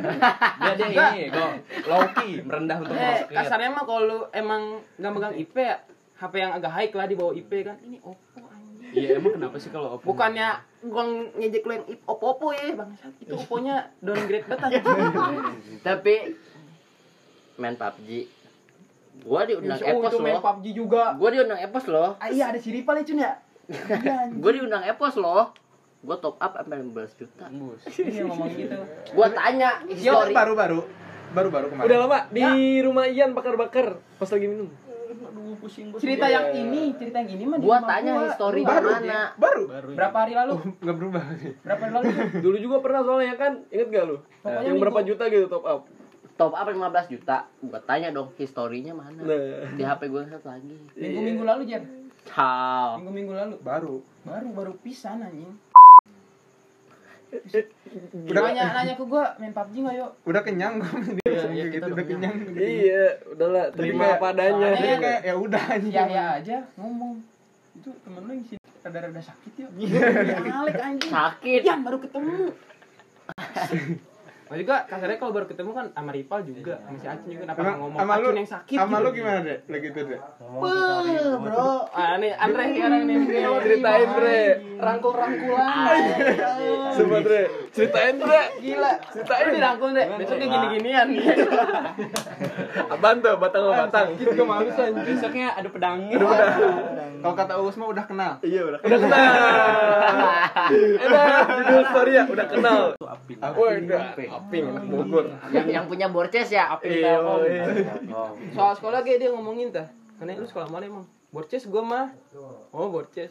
[SPEAKER 2] (laughs) dia ini, gua Loki merendah untuk
[SPEAKER 3] Eh,
[SPEAKER 2] basket.
[SPEAKER 3] kasarnya mah kalau lu emang gak megang IP ya, HP yang agak high lah di bawah IP kan. Ini Oppo anjing.
[SPEAKER 2] Iya, emang kenapa sih kalau Oppo?
[SPEAKER 3] Bukannya gua ngejek lu yang ip- Oppo-Oppo ya, Bang. Itu Oppo-nya (laughs) downgrade banget.
[SPEAKER 5] Tapi main PUBG. Gua diundang
[SPEAKER 3] Oh,
[SPEAKER 5] Epos
[SPEAKER 3] itu main
[SPEAKER 5] loh.
[SPEAKER 3] PUBG juga.
[SPEAKER 5] Gua diundang Epos loh.
[SPEAKER 3] Ah, iya ada si Ripa lecun ya.
[SPEAKER 5] Gua diundang Epos loh. Gua top up sampai 15 juta.
[SPEAKER 2] Bus.
[SPEAKER 3] Iya ngomong gitu.
[SPEAKER 5] Gua tanya
[SPEAKER 3] Iya,
[SPEAKER 1] Yo,
[SPEAKER 5] history.
[SPEAKER 1] baru-baru. Baru-baru kemarin.
[SPEAKER 4] Udah lama di rumah Ian bakar-bakar pas lagi minum.
[SPEAKER 2] Aduh, pusing gua.
[SPEAKER 3] Cerita yang ini, cerita yang ini mah di
[SPEAKER 5] Gua
[SPEAKER 3] rumah
[SPEAKER 5] tanya
[SPEAKER 3] gua.
[SPEAKER 5] history
[SPEAKER 1] Baru.
[SPEAKER 5] mana.
[SPEAKER 1] Baru.
[SPEAKER 2] baru. ya.
[SPEAKER 3] Berapa hari lalu?
[SPEAKER 1] Enggak berubah nih.
[SPEAKER 3] Berapa hari lalu? (laughs)
[SPEAKER 4] Dulu juga pernah soalnya kan, inget gak lu?
[SPEAKER 3] Pokoknya
[SPEAKER 4] yang
[SPEAKER 3] minggu.
[SPEAKER 4] berapa juta gitu top up.
[SPEAKER 5] Top up 15 juta. Gua tanya dong historinya mana.
[SPEAKER 4] Nah,
[SPEAKER 5] Di HP gua satu lagi.
[SPEAKER 3] Minggu-minggu lalu, Jen.
[SPEAKER 5] Ciao.
[SPEAKER 3] Minggu-minggu lalu.
[SPEAKER 1] Baru.
[SPEAKER 3] Baru baru pisan anjing.
[SPEAKER 1] Udah.
[SPEAKER 3] Nanya nanya ke gua main PUBG enggak yuk?
[SPEAKER 1] Udah kenyang gua sama dia langsung kayak gitu udah kenyang.
[SPEAKER 4] iya, udahlah terima Iya.
[SPEAKER 1] Terima.
[SPEAKER 4] apa adanya.
[SPEAKER 1] Jadi kayak ya udah anjing.
[SPEAKER 3] Ya ya aja ngomong. Itu temen lu yang sini rada-rada sakit (laughs) yuk. Alek anjing.
[SPEAKER 5] Sakit.
[SPEAKER 3] Yang baru (laughs) ketemu. Nah juga kasarnya kalau baru ketemu kan sama Ripal juga, sama si Acun juga kenapa
[SPEAKER 1] Sama-
[SPEAKER 3] nggak ngomong
[SPEAKER 1] sama lu-
[SPEAKER 3] Acun yang sakit.
[SPEAKER 1] Sama
[SPEAKER 3] gitu.
[SPEAKER 1] lu gimana, Dek? Lagi itu, Dek.
[SPEAKER 3] Wah, bro. Ah, nih Andre sekarang nih.
[SPEAKER 5] Iya.
[SPEAKER 4] Ceritain Dre,
[SPEAKER 3] Rangkul-rangkulan.
[SPEAKER 4] coba Dre, ceritain Dre.
[SPEAKER 3] Gila. Ceritain dirangkul, Dre. Besoknya gini-ginian.
[SPEAKER 4] Apaan tuh, batang sama batang?
[SPEAKER 3] Gak malu anjing.
[SPEAKER 2] Besoknya ada pedangnya.
[SPEAKER 1] Kalau kata Uus mah udah kenal.
[SPEAKER 4] Iya udah kenal. Udah kenal. Enak, judul story ya, udah kenal.
[SPEAKER 2] Apin.
[SPEAKER 4] Wah, udah. Aping, anak Bogor.
[SPEAKER 5] Yang yang punya borces ya.
[SPEAKER 4] Iya, iya.
[SPEAKER 3] (laughs) Soal sekolah kayak dia ngomongin tah. Karena lu sekolah mana emang? Borces gua mah. Oh, Borces.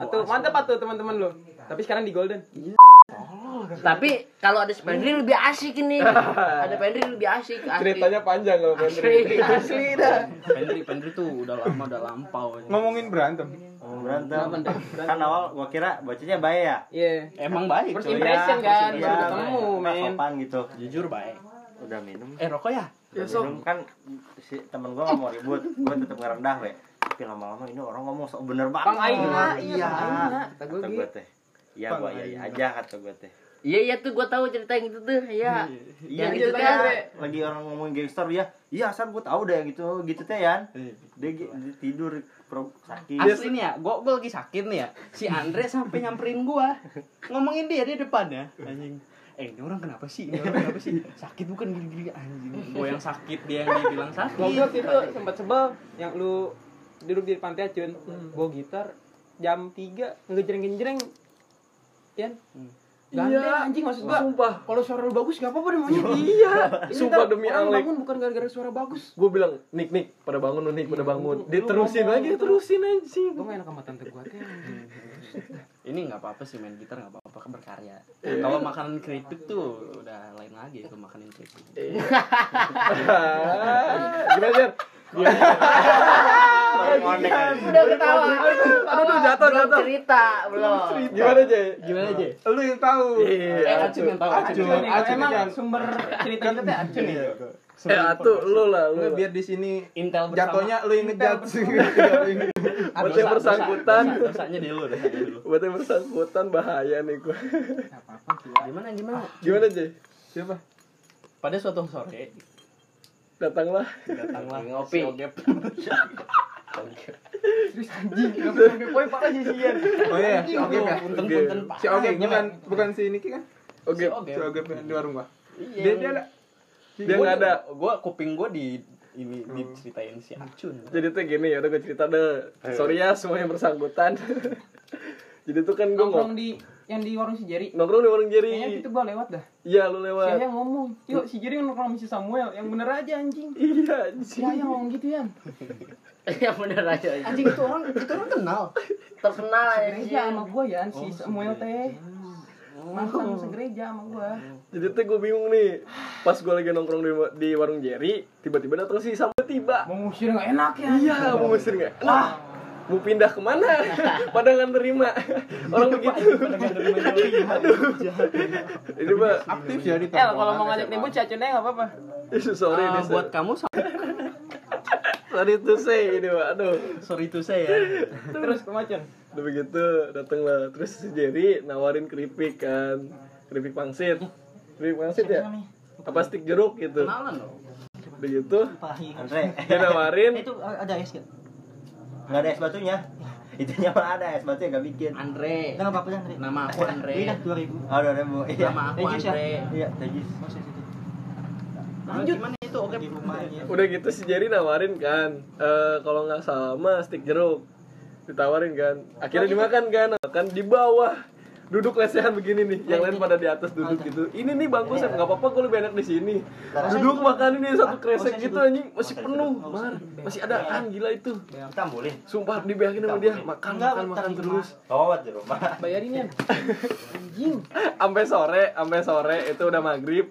[SPEAKER 3] Atau mantep atuh teman-teman lu. Tapi sekarang di Golden.
[SPEAKER 5] Tapi kalau ada spendri lebih asik
[SPEAKER 3] (laughs)
[SPEAKER 5] ini. Ada pendri lebih asik. asli.
[SPEAKER 4] Ceritanya panjang kalau Dre.
[SPEAKER 5] asli. asli dah.
[SPEAKER 2] Pendri, Pendri tuh udah lama udah lampau. ya.
[SPEAKER 1] Ngomongin berantem.
[SPEAKER 7] Oh, berantem. Kan awal gua kira bacanya bae ya.
[SPEAKER 3] Iya.
[SPEAKER 2] Emang baik.
[SPEAKER 3] First
[SPEAKER 2] coy.
[SPEAKER 3] impression
[SPEAKER 2] Iya,
[SPEAKER 3] kan,
[SPEAKER 2] first
[SPEAKER 3] baru
[SPEAKER 2] impression.
[SPEAKER 3] ketemu,
[SPEAKER 7] Nah,
[SPEAKER 3] men.
[SPEAKER 7] sopan gitu.
[SPEAKER 2] Jujur baik.
[SPEAKER 7] Udah minum.
[SPEAKER 2] Eh, rokok ya?
[SPEAKER 7] Minum kan si temen gua nggak mau ribut, gua tetap ngerendah we. Tapi lama-lama ini orang ngomong sok bener banget.
[SPEAKER 3] Bang Aina, iya
[SPEAKER 7] iya.
[SPEAKER 3] Bang Aina. Kata gua
[SPEAKER 7] Kata
[SPEAKER 3] gitu.
[SPEAKER 7] gua teh. Iya gua iya iya aja kata gua teh.
[SPEAKER 5] Iya iya tuh gua tahu cerita yang itu tuh. Iya.
[SPEAKER 7] Iya
[SPEAKER 5] Yang
[SPEAKER 7] gitu
[SPEAKER 5] itu
[SPEAKER 7] teh.
[SPEAKER 5] kan.
[SPEAKER 7] Lagi orang ngomongin gangster ya. Iya, asal gua tahu deh gitu gitu teh ya.
[SPEAKER 2] Eh,
[SPEAKER 7] Dia, gi- dia tidur pro- sakit.
[SPEAKER 2] Asli nih ya, gua, gua lagi sakit nih ya. Si Andre sampai nyamperin gua. Ngomongin dia di depan ya. Anjing. Eh, ini orang kenapa sih? Ini orang kenapa sih? Sakit bukan gini-gini anjing. Gua yang sakit, dia yang dibilang sakit.
[SPEAKER 3] Gua waktu itu sempat sebel yang lu duduk di pantai Acun. Gua gitar jam 3 ngejreng-ngejreng. Yan. Ganteng Iya, anjing maksud gua.
[SPEAKER 4] Sumpah,
[SPEAKER 3] Kalau suara lu bagus gak apa-apa deh maunya. (laughs)
[SPEAKER 4] Iya,
[SPEAKER 3] Ini
[SPEAKER 4] sumpah
[SPEAKER 3] ntar
[SPEAKER 4] demi
[SPEAKER 3] orang
[SPEAKER 4] Alek.
[SPEAKER 3] bangun bukan gara-gara suara bagus.
[SPEAKER 4] Gue bilang, Nik, Nik, pada bangun lu, Nik, pada bangun.
[SPEAKER 3] lu-
[SPEAKER 4] Dia
[SPEAKER 3] lu
[SPEAKER 4] terusin
[SPEAKER 3] ngomong,
[SPEAKER 4] lagi,
[SPEAKER 3] lu-
[SPEAKER 4] terusin anjing.
[SPEAKER 3] Gua gak enak sama tante gua teh.
[SPEAKER 2] Ini nggak apa-apa sih main gitar nggak apa-apa kan berkarya. Kalau makanan kritik tuh udah lain lagi itu makanan kritik.
[SPEAKER 4] Gimana, Jan?
[SPEAKER 7] Orang ngonek.
[SPEAKER 5] Udah ketawa.
[SPEAKER 4] Aduh, jatuh,
[SPEAKER 5] Belum
[SPEAKER 4] jatuh.
[SPEAKER 5] cerita belum.
[SPEAKER 4] Gimana, Jay?
[SPEAKER 2] Gimana aja?
[SPEAKER 1] Lu yang tahu.
[SPEAKER 4] Iya.
[SPEAKER 2] Eh, Acun yang tahu Acun.
[SPEAKER 1] Acun.
[SPEAKER 3] Nih, kalau
[SPEAKER 1] Acun
[SPEAKER 3] emang
[SPEAKER 1] kan.
[SPEAKER 3] sumber cerita kita teh Acun nih.
[SPEAKER 4] Eh, atuh, lu lah, lu.
[SPEAKER 1] Lu
[SPEAKER 4] lah.
[SPEAKER 1] biar di sini
[SPEAKER 2] Intel bersama.
[SPEAKER 1] (laughs) jatuhnya lu yang ngejat.
[SPEAKER 4] Buat
[SPEAKER 2] Dosa,
[SPEAKER 4] yang
[SPEAKER 2] dosa,
[SPEAKER 4] bersangkutan.
[SPEAKER 2] dosa, Dosanya di lu, dosanya di lu.
[SPEAKER 4] Buat yang bersangkutan bahaya nih gue.
[SPEAKER 2] Gimana gimana?
[SPEAKER 4] (laughs) Gimana, Jay?
[SPEAKER 1] Siapa?
[SPEAKER 2] Pada suatu sore
[SPEAKER 4] Datanglah.
[SPEAKER 2] datanglah
[SPEAKER 5] Ngopi.
[SPEAKER 2] si Ogep.
[SPEAKER 3] Terus anjing, gak pernah ada poin parah sih Yan.
[SPEAKER 1] Oh iya, si Ogep ya.
[SPEAKER 2] Punten-punten Pak.
[SPEAKER 1] Si Ogep bukan bukan si Niki kan?
[SPEAKER 2] Si
[SPEAKER 4] Oke.
[SPEAKER 2] Ogep.
[SPEAKER 1] Si Ogep yang di warung gua.
[SPEAKER 2] Iya.
[SPEAKER 1] Dia dia ada.
[SPEAKER 4] Dia nggak ada.
[SPEAKER 2] Gua kuping gua di ini diceritain si Acun.
[SPEAKER 4] Jadi tuh gini ya, udah gue cerita deh. Sorry ya semua yang bersangkutan. (laughs) Jadi tuh kan gue
[SPEAKER 3] Nongkrong
[SPEAKER 4] ngomong
[SPEAKER 3] di yang di warung si Jerry.
[SPEAKER 4] nongkrong di warung
[SPEAKER 3] Kayaknya gitu.
[SPEAKER 4] Jerry.
[SPEAKER 3] itu gua lewat dah.
[SPEAKER 4] Iya, lu
[SPEAKER 3] Si
[SPEAKER 4] lewat.
[SPEAKER 3] Yaya ngomong, yuk si Jerry nongkrong sama si Samuel, yang bener aja anjing.
[SPEAKER 4] Iya,
[SPEAKER 3] Si Yaya ngomong gitu Yan.
[SPEAKER 5] (laughs) Iya bener aja.
[SPEAKER 2] Anjing itu orang itu orang kenal.
[SPEAKER 5] Terkenal
[SPEAKER 4] Oh,
[SPEAKER 5] aja.
[SPEAKER 3] Gereja sama gua Yan, si Samuel teh. mantan segereja sama gua
[SPEAKER 4] Jadi tuh gue bingung nih. Pas gue lagi nongkrong di, di warung Jerry, tiba-tiba datang si Sam tiba.
[SPEAKER 3] mau ngusir nggak enak ya
[SPEAKER 4] Iya, mau ngusir nggak? Wah, mau pindah kemana? (laughs) Padahal nggak terima. Orang begitu. (laughs) Aduh. Ini mah,
[SPEAKER 1] aktif ya di
[SPEAKER 3] El
[SPEAKER 1] tongkrongan
[SPEAKER 3] Eh, kalau mau ngajak
[SPEAKER 1] SMA.
[SPEAKER 3] ribut cacun aja nggak apa-apa
[SPEAKER 4] isu sorry
[SPEAKER 2] Ah,
[SPEAKER 4] ini.
[SPEAKER 2] buat
[SPEAKER 4] Buat
[SPEAKER 2] kamu so-
[SPEAKER 4] sorry to say ini mah. Aduh.
[SPEAKER 2] sorry to say ya.
[SPEAKER 3] terus kemacun
[SPEAKER 4] Udah begitu datanglah terus si Jerry nawarin keripik kan. Keripik pangsit. Keripik pangsit ya? Apa stik jeruk gitu.
[SPEAKER 2] Kenalan loh.
[SPEAKER 4] Udah gitu
[SPEAKER 7] Pahi. Andre.
[SPEAKER 4] dia nawarin
[SPEAKER 2] Itu
[SPEAKER 3] eh,
[SPEAKER 2] ada es gak?
[SPEAKER 7] Enggak ada es batunya. (laughs) Itunya mah ada es batunya enggak bikin.
[SPEAKER 2] Andre.
[SPEAKER 9] apa-apa Andre.
[SPEAKER 2] Nama aku Andre.
[SPEAKER 9] dua ribu.
[SPEAKER 7] Oh, udah Bu. Iya.
[SPEAKER 2] Nama aku Andre.
[SPEAKER 7] Iya, tajis.
[SPEAKER 2] Lanjut. Gimana itu? Oke.
[SPEAKER 4] udah gitu si Jerry nawarin kan eh kalau nggak salah mah stik jeruk ditawarin kan akhirnya dimakan kan makan di bawah duduk lesehan begini nih yang lain pada di atas duduk gitu ini nih bangku saya nggak apa-apa gue lebih enak di sini duduk makan ini satu kresek gitu anjing masih penuh mar masih ada kan gila itu
[SPEAKER 7] Kita boleh.
[SPEAKER 4] sumpah dibayangin sama dia makan makan makan terus (laughs)
[SPEAKER 7] Tawat di rumah.
[SPEAKER 3] bayarin ya
[SPEAKER 4] sampai sore sampai sore itu udah maghrib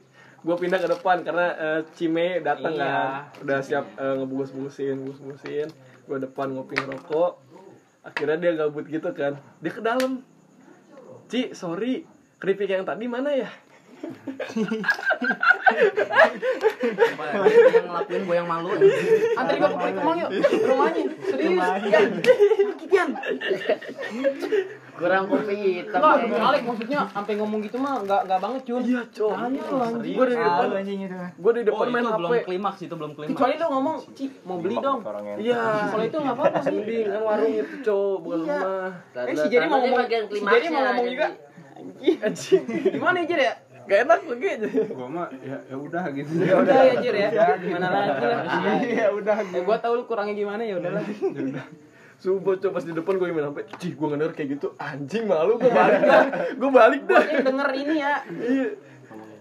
[SPEAKER 4] gue pindah ke depan karena eh, Cime datang
[SPEAKER 3] Iya.
[SPEAKER 4] kan udah siap eh, ngebungkus-bungkusin bungkus-bungkusin gue depan ngopi ngerokok akhirnya dia gabut gitu kan dia ke dalam Ci sorry keripik yang tadi mana ya
[SPEAKER 2] Gue yang ngelakuin gue yang malu.
[SPEAKER 3] antar gua ke Puri Kemang yuk rumahnya serius
[SPEAKER 5] Kurang kopi hitam.
[SPEAKER 3] Enggak,
[SPEAKER 5] eh.
[SPEAKER 3] Alek maksudnya sampai ngomong gitu mah nggak nggak banget cun
[SPEAKER 4] iya cok
[SPEAKER 3] Tanya Ah, lu, anjing.
[SPEAKER 4] gue di depan gue di
[SPEAKER 2] Oh,
[SPEAKER 4] depan main
[SPEAKER 2] itu
[SPEAKER 4] hp
[SPEAKER 2] belum klimaks itu belum klimaks.
[SPEAKER 3] kecuali lu ngomong Ci mau beli dong Nah,
[SPEAKER 4] iya
[SPEAKER 3] kalau itu nggak apa-apa sih
[SPEAKER 4] mending kan warung itu cok bukan rumah
[SPEAKER 3] Eh, si Jerry mau
[SPEAKER 5] Karena dia
[SPEAKER 3] ngomong,
[SPEAKER 5] bagian
[SPEAKER 3] si Jerry mau
[SPEAKER 5] klimaksnya,
[SPEAKER 3] ngomong juga.
[SPEAKER 5] jadi-
[SPEAKER 4] anjing
[SPEAKER 3] (laughs) Gimana ya Jer ya?
[SPEAKER 4] gak enak lagi Iya,
[SPEAKER 1] gua mah ya ya udah gitu
[SPEAKER 3] Ya udah
[SPEAKER 1] (laughs)
[SPEAKER 3] ya Jer ya. Gimana lagi lah.
[SPEAKER 1] ya udah
[SPEAKER 3] Ya gua tahu lu kurangnya gimana ya udah lah.
[SPEAKER 4] Iya. Sumpah coba pas di depan gue main HP Cih gue ngedenger kayak gitu Anjing malu gue balik dah Gue balik dah
[SPEAKER 3] Ini denger ini ya.
[SPEAKER 4] Iya.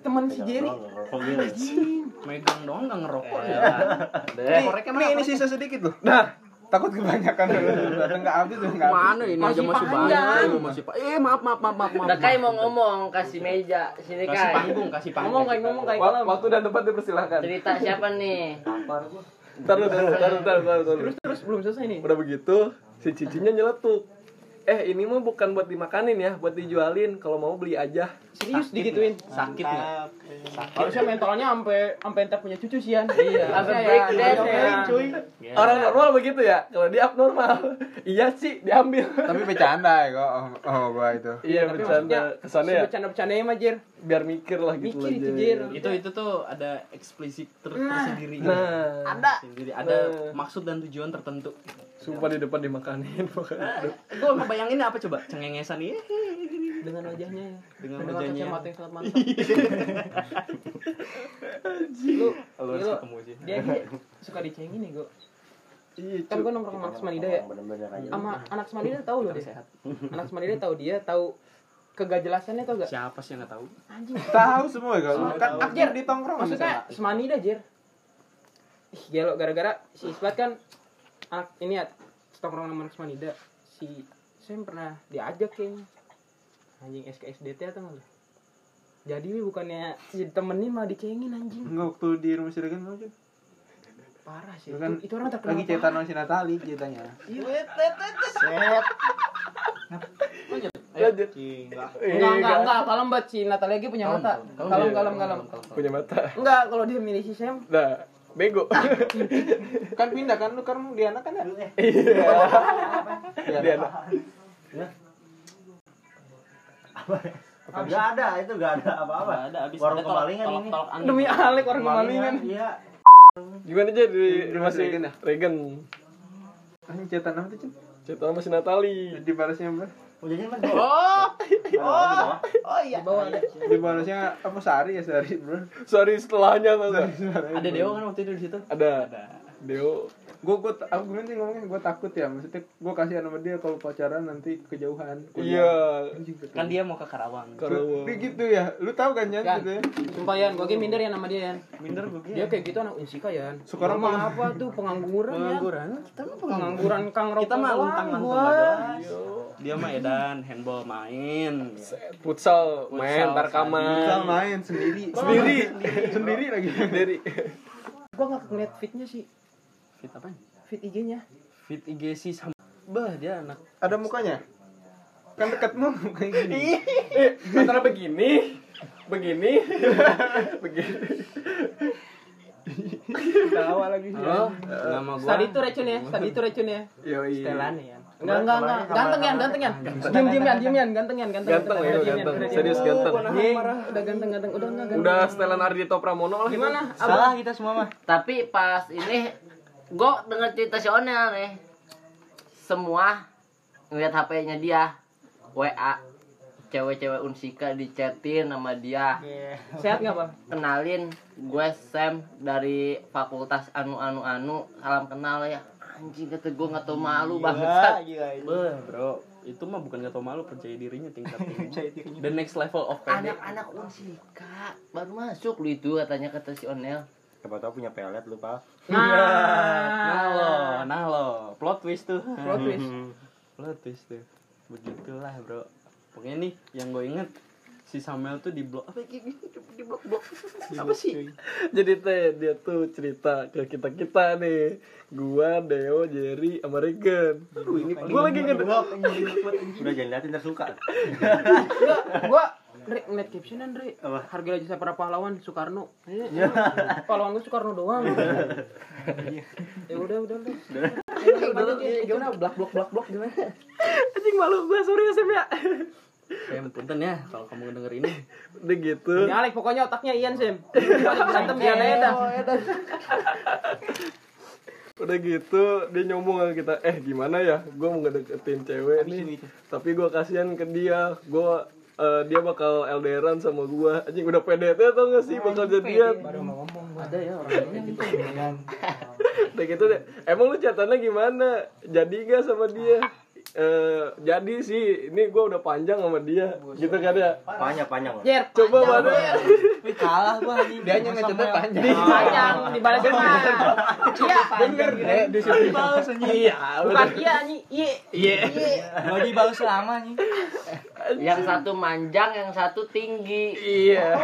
[SPEAKER 3] Temen si Jerry.
[SPEAKER 2] Megang doang nggak ngerokok ya.
[SPEAKER 1] Koreknya mana? Ini sisa sedikit loh. Nah, takut kebanyakan dulu. Datang nggak habis tuh nggak. habis.
[SPEAKER 2] Mana ini aja masih banyak, masih pa- Eh, maaf maaf maaf maaf. maaf.
[SPEAKER 5] Udah Kai mau ngomong kasih meja sini
[SPEAKER 2] Kasih
[SPEAKER 5] Kai.
[SPEAKER 2] panggung, kasih panggung.
[SPEAKER 3] Ngomong kayak ngomong kayak kalau.
[SPEAKER 4] Waktu dan tempat dipersilahkan
[SPEAKER 5] Cerita siapa nih?
[SPEAKER 4] Ntar lu, ntar lu, ntar lu, ntar lu, ntar lu, ntar lu.
[SPEAKER 3] Terus belum selesai nih.
[SPEAKER 4] Udah begitu Si cincinnya nyeletuk Eh ini mah bukan buat dimakanin ya Buat dijualin Kalau mau beli aja
[SPEAKER 3] Serius digituin.
[SPEAKER 2] sakit nggak?
[SPEAKER 3] Harusnya mentalnya sampai sampai entar punya cucu sih Yan. Iya.
[SPEAKER 5] Sampai break dance, ya.
[SPEAKER 3] cuy.
[SPEAKER 4] Orang normal begitu ya Kalau dia abnormal (laughs) Iya sih diambil
[SPEAKER 1] Tapi bercanda ya kok. Oh, oh gua itu.
[SPEAKER 4] Iya bercanda Kesannya ya
[SPEAKER 3] Bercanda-bercandanya mah Jer.
[SPEAKER 4] Biar mikir lah gitu
[SPEAKER 3] Mikir itu
[SPEAKER 4] aja
[SPEAKER 3] Jer.
[SPEAKER 2] Itu itu tuh ada eksplisit ter tersendiri.
[SPEAKER 4] Nah
[SPEAKER 2] Tersendiri. ada
[SPEAKER 4] Nah.
[SPEAKER 2] maksud dan tujuan tertentu.
[SPEAKER 4] Sumpah di depan dimakanin (laughs) pokoknya. Aduh.
[SPEAKER 2] Gue ngebayangin apa coba? Cengengesan iya. nih
[SPEAKER 3] Dengan wajahnya ya.
[SPEAKER 2] dengan
[SPEAKER 3] Dengan
[SPEAKER 2] wajahnya.
[SPEAKER 3] kacamata yang sangat mantap. Lu
[SPEAKER 2] Lu
[SPEAKER 3] Iya,
[SPEAKER 2] harus
[SPEAKER 3] lu.
[SPEAKER 2] ketemu sih.
[SPEAKER 3] dia dia suka dicengin nih gua.
[SPEAKER 4] Iya
[SPEAKER 3] Kan
[SPEAKER 4] cu.
[SPEAKER 3] gua nongkrong sama anak Semanida ya.
[SPEAKER 7] Bener-bener aja.
[SPEAKER 3] Sama anak Semanida tahu loh dia. Anak Semanida tahu dia tahu kegajelasannya tau gak?
[SPEAKER 2] Siapa sih yang nggak tahu?
[SPEAKER 3] Anjing.
[SPEAKER 1] Tahu semua ya kok. Kan
[SPEAKER 3] Tahu.
[SPEAKER 1] akhir di tongkrong
[SPEAKER 3] Maksudnya semani dah, Jir. Ih, gelo gara-gara si Isbat kan anak ini ya setongkrong sama anak Semanida. Si Sam pernah diajak kayaknya. Anjing SKSDT atau enggak? Jadi wih bukannya jadi temenin malah dicengin anjing.
[SPEAKER 1] Enggak waktu di rumah Siragan lu Cuk.
[SPEAKER 3] Parah sih.
[SPEAKER 1] Lu kan
[SPEAKER 3] itu, itu orang terkenal. Iya.
[SPEAKER 1] lagi cetan sama si Natali ceritanya.
[SPEAKER 4] Lanjut Iya,
[SPEAKER 3] Enggak, enggak, enggak. Kalem banget si Natalia lagi punya mata. Kalem, Iya, kalem, kalem.
[SPEAKER 4] Punya mata
[SPEAKER 3] Enggak, kalau dia milih si Sam
[SPEAKER 4] Nah
[SPEAKER 3] (laughs)
[SPEAKER 4] Bego
[SPEAKER 1] Kan pindah kan lu kan di anak kan ya.
[SPEAKER 4] Dia ada
[SPEAKER 7] Enggak ada, itu enggak ada apa-apa.
[SPEAKER 2] Nggak ada habis
[SPEAKER 7] Warung
[SPEAKER 2] ada tolak-
[SPEAKER 7] kemalingan
[SPEAKER 2] tolak-
[SPEAKER 7] ini.
[SPEAKER 2] tolak angin.
[SPEAKER 3] demi Alek orang kemalingan.
[SPEAKER 7] Iya.
[SPEAKER 4] Gimana aja di rumah
[SPEAKER 1] rumah
[SPEAKER 4] si
[SPEAKER 1] Regan ya?
[SPEAKER 4] Regan
[SPEAKER 1] Anjing cetan Ah, apa tuh Cuk?
[SPEAKER 4] Cerita sama si Natali
[SPEAKER 1] Dibalasnya apa?
[SPEAKER 7] Ujungnya kan. Oh. Oh.
[SPEAKER 3] Di bawah ada.
[SPEAKER 1] Dibalasnya apa sehari ya sehari bro.
[SPEAKER 4] Sorry setelahnya tuh
[SPEAKER 2] Ada Deo kan waktu itu di situ.
[SPEAKER 4] Ada Deo
[SPEAKER 1] gue gue aku gimana sih ngomongnya gue takut ya maksudnya gue kasihan sama dia kalau pacaran nanti kejauhan gitu.
[SPEAKER 4] Iya
[SPEAKER 2] Kan dia mau ke Karawang.
[SPEAKER 1] Lu-
[SPEAKER 4] Karawang
[SPEAKER 1] tapi gitu ya lu tahu kan Jan
[SPEAKER 3] Kan.
[SPEAKER 1] gitu ya
[SPEAKER 3] Sumpah Yan, gue kayak minder ya nama dia Yan
[SPEAKER 2] Minder gue
[SPEAKER 3] Dia kayak gitu anak Unsika Yan
[SPEAKER 1] Sekarang
[SPEAKER 3] Orang mah apa tuh pengangguran ya
[SPEAKER 2] Pengangguran. Kita mah pengangguran.
[SPEAKER 3] Pengangguran Kang Rokok
[SPEAKER 2] Kita mah
[SPEAKER 3] doang,
[SPEAKER 2] luntang-lantang
[SPEAKER 3] gua.
[SPEAKER 2] doang. dia mah edan handball main Futsal,
[SPEAKER 4] futsal main
[SPEAKER 1] Futsal
[SPEAKER 4] tarkaman
[SPEAKER 1] main sendiri.
[SPEAKER 4] Sendiri.
[SPEAKER 1] sendiri lagi.
[SPEAKER 4] dari
[SPEAKER 3] Gua nggak ngeliat fitnya sih,
[SPEAKER 2] fit apa
[SPEAKER 3] fit IG-nya.
[SPEAKER 2] fit IG sih sama bah dia anak
[SPEAKER 1] Ada mukanya? Kan dekatmu kayak gini.
[SPEAKER 4] eh, antara begini begini begini
[SPEAKER 1] Tawa lagi.
[SPEAKER 2] oh, nama gua
[SPEAKER 3] Tadi itu racun ya, tadi itu racun ya.
[SPEAKER 4] Yoi.
[SPEAKER 3] Telan ya. Enggak enggak enggak, ganteng ya, ganteng ya. Diam diam ya, diam ya, ganteng ya, ganteng.
[SPEAKER 4] ganteng ya ganteng
[SPEAKER 3] diam, diam, diam.
[SPEAKER 4] serius ganteng
[SPEAKER 3] Iya, udah ganteng ganteng, udah enggak ganteng.
[SPEAKER 4] udah setelan Ardito Pramono lah kita.
[SPEAKER 3] Gimana? Abang?
[SPEAKER 2] salah kita semua mah
[SPEAKER 5] Tapi pas ini gue denger cerita si Onel nih. Semua ngeliat HP-nya dia. WA cewek-cewek unsika dicetin sama dia
[SPEAKER 3] Sehat enggak, Bang?
[SPEAKER 5] kenalin gue Sam dari fakultas anu anu anu salam kenal ya anjing kata gue nggak tau malu banget
[SPEAKER 2] bah bro itu mah bukan gak tau malu percaya dirinya tingkat tinggi the next level of pede
[SPEAKER 5] anak-anak unsika baru masuk lu itu katanya kata si Onel
[SPEAKER 7] Siapa tahu punya pelet lu, Pak.
[SPEAKER 2] nah lo nah lo plot twist tuh (laughs)
[SPEAKER 3] Plot twist.
[SPEAKER 2] plot twist tuh begitulah bro pokoknya nih yang gue inget si Samuel tuh di blok apa ya? di, di blok blok apa sih
[SPEAKER 4] jadi teh dia tuh cerita ke kita kita nih gua Deo Jerry sama Regan aduh ini gua lagi nggak
[SPEAKER 7] Udah jangan liatin ntar suka.
[SPEAKER 3] Enggak, gua Dre, ngeliat captionan Dre
[SPEAKER 7] Apa?
[SPEAKER 3] Harga jasa para pahlawan Soekarno Iya Pahlawan gue Soekarno doang Ya udah udah udah Iya,
[SPEAKER 4] gimana blak blok blak blok gimana anjing malu gua sorry ya Sam ya
[SPEAKER 2] kayak punten ya kalau kamu denger ini
[SPEAKER 4] udah gitu
[SPEAKER 3] Nyalek Iya, pokoknya otaknya Ian Sim Paling berantem Ian aja dah
[SPEAKER 4] udah gitu dia nyombong ke kita eh gimana ya gua mau ngedeketin cewek nih tapi gua kasihan ke dia gua eh, dia bakal LDRan sama gua anjing udah PDT atau nggak sih bakal jadian
[SPEAKER 2] ada ya orang kayak gitu
[SPEAKER 4] Udah gitu deh. Emang lu catatannya gimana? Jadi gak sama dia? Eh, jadi sih, ini gua udah panjang sama dia. Gitu kan ya?
[SPEAKER 7] Panjang panjang.
[SPEAKER 3] Jer
[SPEAKER 4] Coba mana?
[SPEAKER 2] kalah gua lagi
[SPEAKER 1] Dia hanya ngecatat panjang.
[SPEAKER 2] Iya.
[SPEAKER 3] Panjang dibalesin mah Iya
[SPEAKER 1] Bener deh di situ.
[SPEAKER 3] Bukan iya nih Iya
[SPEAKER 2] mau dibawa selama nih
[SPEAKER 5] yang satu manjang yang satu tinggi
[SPEAKER 4] Iya.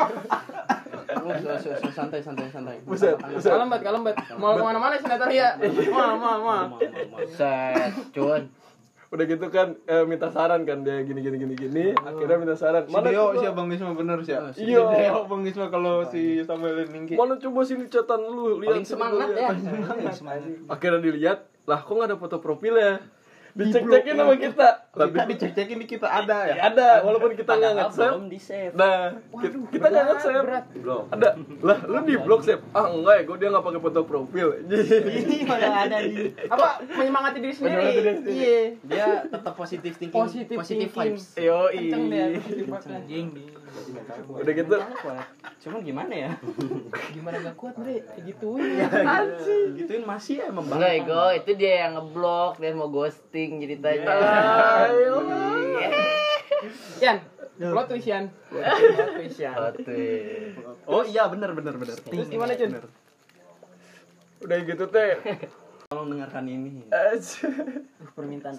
[SPEAKER 2] santai santai santai
[SPEAKER 4] Buset, buset.
[SPEAKER 3] Kalem bet kalem bet Mau kemana-mana sinetron ya Mal mal mal
[SPEAKER 5] set cun
[SPEAKER 4] Udah gitu kan eh, minta saran kan dia gini gini gini gini. Akhirnya minta saran.
[SPEAKER 1] Si Deo
[SPEAKER 4] coba-
[SPEAKER 1] si Abang Gisma bener sih. ya? Si
[SPEAKER 4] Iya.
[SPEAKER 1] Deo Bang Gisma kalau si Samuel Ningki.
[SPEAKER 4] Mana coba sini catatan lu lihat
[SPEAKER 2] paling semangat
[SPEAKER 4] sini,
[SPEAKER 2] ya
[SPEAKER 4] lihat. Akhirnya dilihat, lah kok gak ada foto profilnya? Dicek-cekin sama kita. Lah,
[SPEAKER 1] Kita dicek-cekin di kita ada ya.
[SPEAKER 4] ada, walaupun kita nggak
[SPEAKER 2] Padahal
[SPEAKER 4] nge-save.
[SPEAKER 2] belum di save
[SPEAKER 4] Nah, ki- kita nggak nge save. Ada. Lah, lu di blok save. Ah, enggak ya, gue dia nggak pakai foto profil.
[SPEAKER 3] Apa menyemangati diri sendiri
[SPEAKER 4] Menyemangati diri sendiri.
[SPEAKER 3] Iya
[SPEAKER 2] dia tetap positif thinking
[SPEAKER 3] Positive thinking.
[SPEAKER 2] vibes
[SPEAKER 4] Yoi.
[SPEAKER 3] Kenceng deh positive vibes-nya.
[SPEAKER 4] Udah gitu.
[SPEAKER 2] cuman gimana ya
[SPEAKER 3] Gimana gak kuat gitu. Dre Digituin iya.
[SPEAKER 2] gituin masih ya membangkang
[SPEAKER 5] enggak ego itu dia yang ngeblok dia mau ghosting ceritanya
[SPEAKER 4] Ayo.
[SPEAKER 5] Iya.
[SPEAKER 3] Yan, plot twist Yan. Ya. Plot twist Yan.
[SPEAKER 2] oh iya benar benar benar
[SPEAKER 3] Terus gimana Cun?
[SPEAKER 4] Udah gitu teh.
[SPEAKER 2] tolong dengarkan ini
[SPEAKER 3] Permintaan.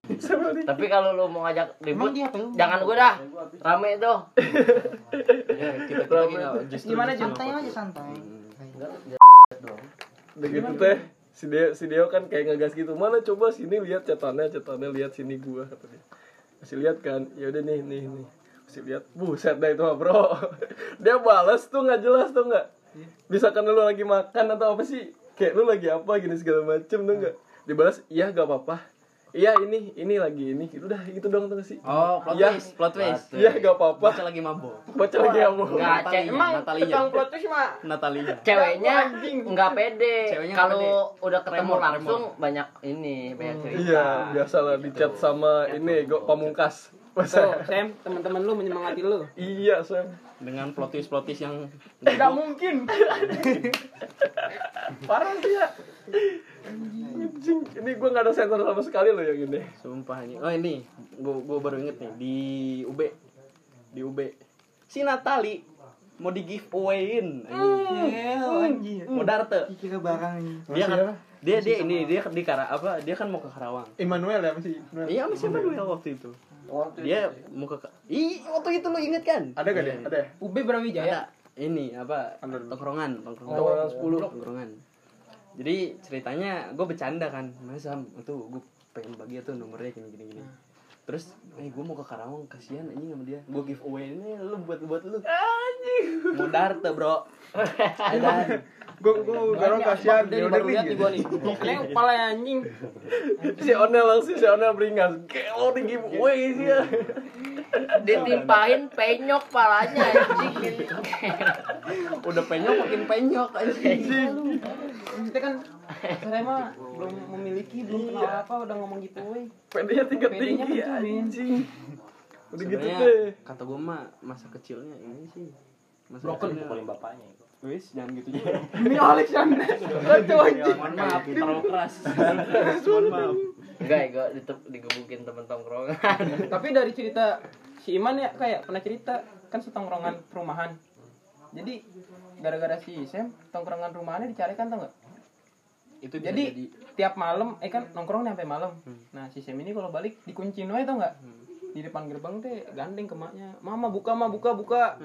[SPEAKER 5] tapi kalau lu mau ngajak ribut jangan gue dah rame tuh
[SPEAKER 2] Iya, kita kita lagi nggak justru
[SPEAKER 3] Gimana
[SPEAKER 2] justru
[SPEAKER 3] Cun?
[SPEAKER 2] nggak
[SPEAKER 3] aja santai.
[SPEAKER 4] Udah gitu teh. Si Deo, si Deo kan kayak ngegas gitu. Mana coba sini lihat catatannya, catatannya lihat sini gua kata dia. Masih lihat kan? Ya udah nih, nih, nih. Masih lihat. Buset dah itu mah, Bro. (laughs) Dia balas tuh nggak jelas tuh nggak?
[SPEAKER 2] Iya.
[SPEAKER 4] Bisa kan lu lagi makan atau apa sih? Kayak lu lagi apa gini segala macem tuh nggak? Dibalas, "Iya, gak apa-apa." Iya ini, ini lagi ini. Gitu dah, gitu dong tuh sih.
[SPEAKER 2] oh plot
[SPEAKER 4] Iya.
[SPEAKER 2] twist plot twist
[SPEAKER 4] Iya, gak apa-apa.
[SPEAKER 2] baca lagi mabok
[SPEAKER 4] Baca lagi ya, Bu.
[SPEAKER 5] Nggak, cek-
[SPEAKER 2] Natalia
[SPEAKER 3] Emang
[SPEAKER 2] Natalia
[SPEAKER 3] tukang plot twist mah
[SPEAKER 2] Natalia
[SPEAKER 5] ceweknya
[SPEAKER 3] anjing.
[SPEAKER 5] nggak pede
[SPEAKER 2] Ceweknya nggak
[SPEAKER 5] kalau udah ketemu
[SPEAKER 2] Remor, remor. Hmm.
[SPEAKER 5] langsung banyak ini banyak cerita
[SPEAKER 4] Iya, biasalah di chat sama ini gue pamungkas.
[SPEAKER 3] Tuh,
[SPEAKER 4] Masa?
[SPEAKER 3] Sam, teman-teman lu menyemangati lu.
[SPEAKER 4] Iya, Sam.
[SPEAKER 2] dengan plot twist plot twist yang
[SPEAKER 3] Tidak mungkin.
[SPEAKER 4] Parah sih ya. Anjing, ini gue gak ada sensor sama sekali loh yang ini.
[SPEAKER 2] sumpah ini oh ini gua gua baru inget nih di UB di UB si Natali mau di giveaway-in anjing. Mau darte.
[SPEAKER 1] Kira barang ini.
[SPEAKER 2] Dia kan dia dia ini dia di Kara apa dia kan mau ke Karawang.
[SPEAKER 1] Immanuel ya masih. Immanuel.
[SPEAKER 2] Iya, sama siapa dulu ya waktu itu? Dia mau ke Ih, waktu itu lo inget kan?
[SPEAKER 1] Ada gak dia? Ada ya?
[SPEAKER 3] UB
[SPEAKER 2] Ada
[SPEAKER 3] Brawijaya.
[SPEAKER 2] ini apa?
[SPEAKER 1] Under-
[SPEAKER 2] Tongkrongan, tongkrongan.
[SPEAKER 3] Tongkrongan
[SPEAKER 2] Tongkrongan. Jadi ceritanya gue bercanda kan, Mas Sam, tuh gue pengen bagi tuh nomornya gini gini gini.
[SPEAKER 3] Hmm.
[SPEAKER 2] Terus, eh gue mau ke Karawang, kasihan anjing sama dia. Gue giveaway ini lu buat buat lu. Anjing. Mau darte, Bro. Ada.
[SPEAKER 1] Gue gue garong kasihan.
[SPEAKER 3] Dari
[SPEAKER 1] Dia udah
[SPEAKER 3] baru lihat nih gua nih. Kayaknya kepala ya, anjing.
[SPEAKER 4] (laughs) si Onel langsung si Onel beringas gelo di giveaway sih ya
[SPEAKER 5] Ditimpahin Iya. penyok palanya anjing.
[SPEAKER 2] Udah penyok makin penyok anjing.
[SPEAKER 3] Kita kan saya mah belum memiliki, belum kenal apa udah ngomong gitu, weh.
[SPEAKER 4] pedenya tingkat
[SPEAKER 3] PD-nya
[SPEAKER 4] tinggi
[SPEAKER 3] kenceng, men.
[SPEAKER 4] anjing udah gitu
[SPEAKER 2] Sebenarnya
[SPEAKER 4] deh
[SPEAKER 2] kata gue mah masa kecilnya ini sih. Masa
[SPEAKER 5] Broken.
[SPEAKER 2] kecilnya.
[SPEAKER 7] bapaknya.
[SPEAKER 2] Wis, jangan gitu juga.
[SPEAKER 3] Ini Iya, Alex Iya, yang itu anjing.
[SPEAKER 2] Mohon maaf, gitu. terlalu (laughs) keras. Mohon maaf.
[SPEAKER 5] Enggak, enggak ditep- digebukin temen tongkrongan.
[SPEAKER 3] Tapi dari cerita si Iman ya kayak pernah cerita kan setongkrongan perumahan. Jadi gara-gara si Sam tongkrongan rumahannya dicarikan tau nggak?
[SPEAKER 2] Itu bisa
[SPEAKER 3] Jadi, tiap malam eh kan nongkrong sampai malam. Nah si Sam ini kalau balik dikunciin wae tau nggak? Di depan gerbang teh gandeng ke maknya. Mama buka ma buka buka.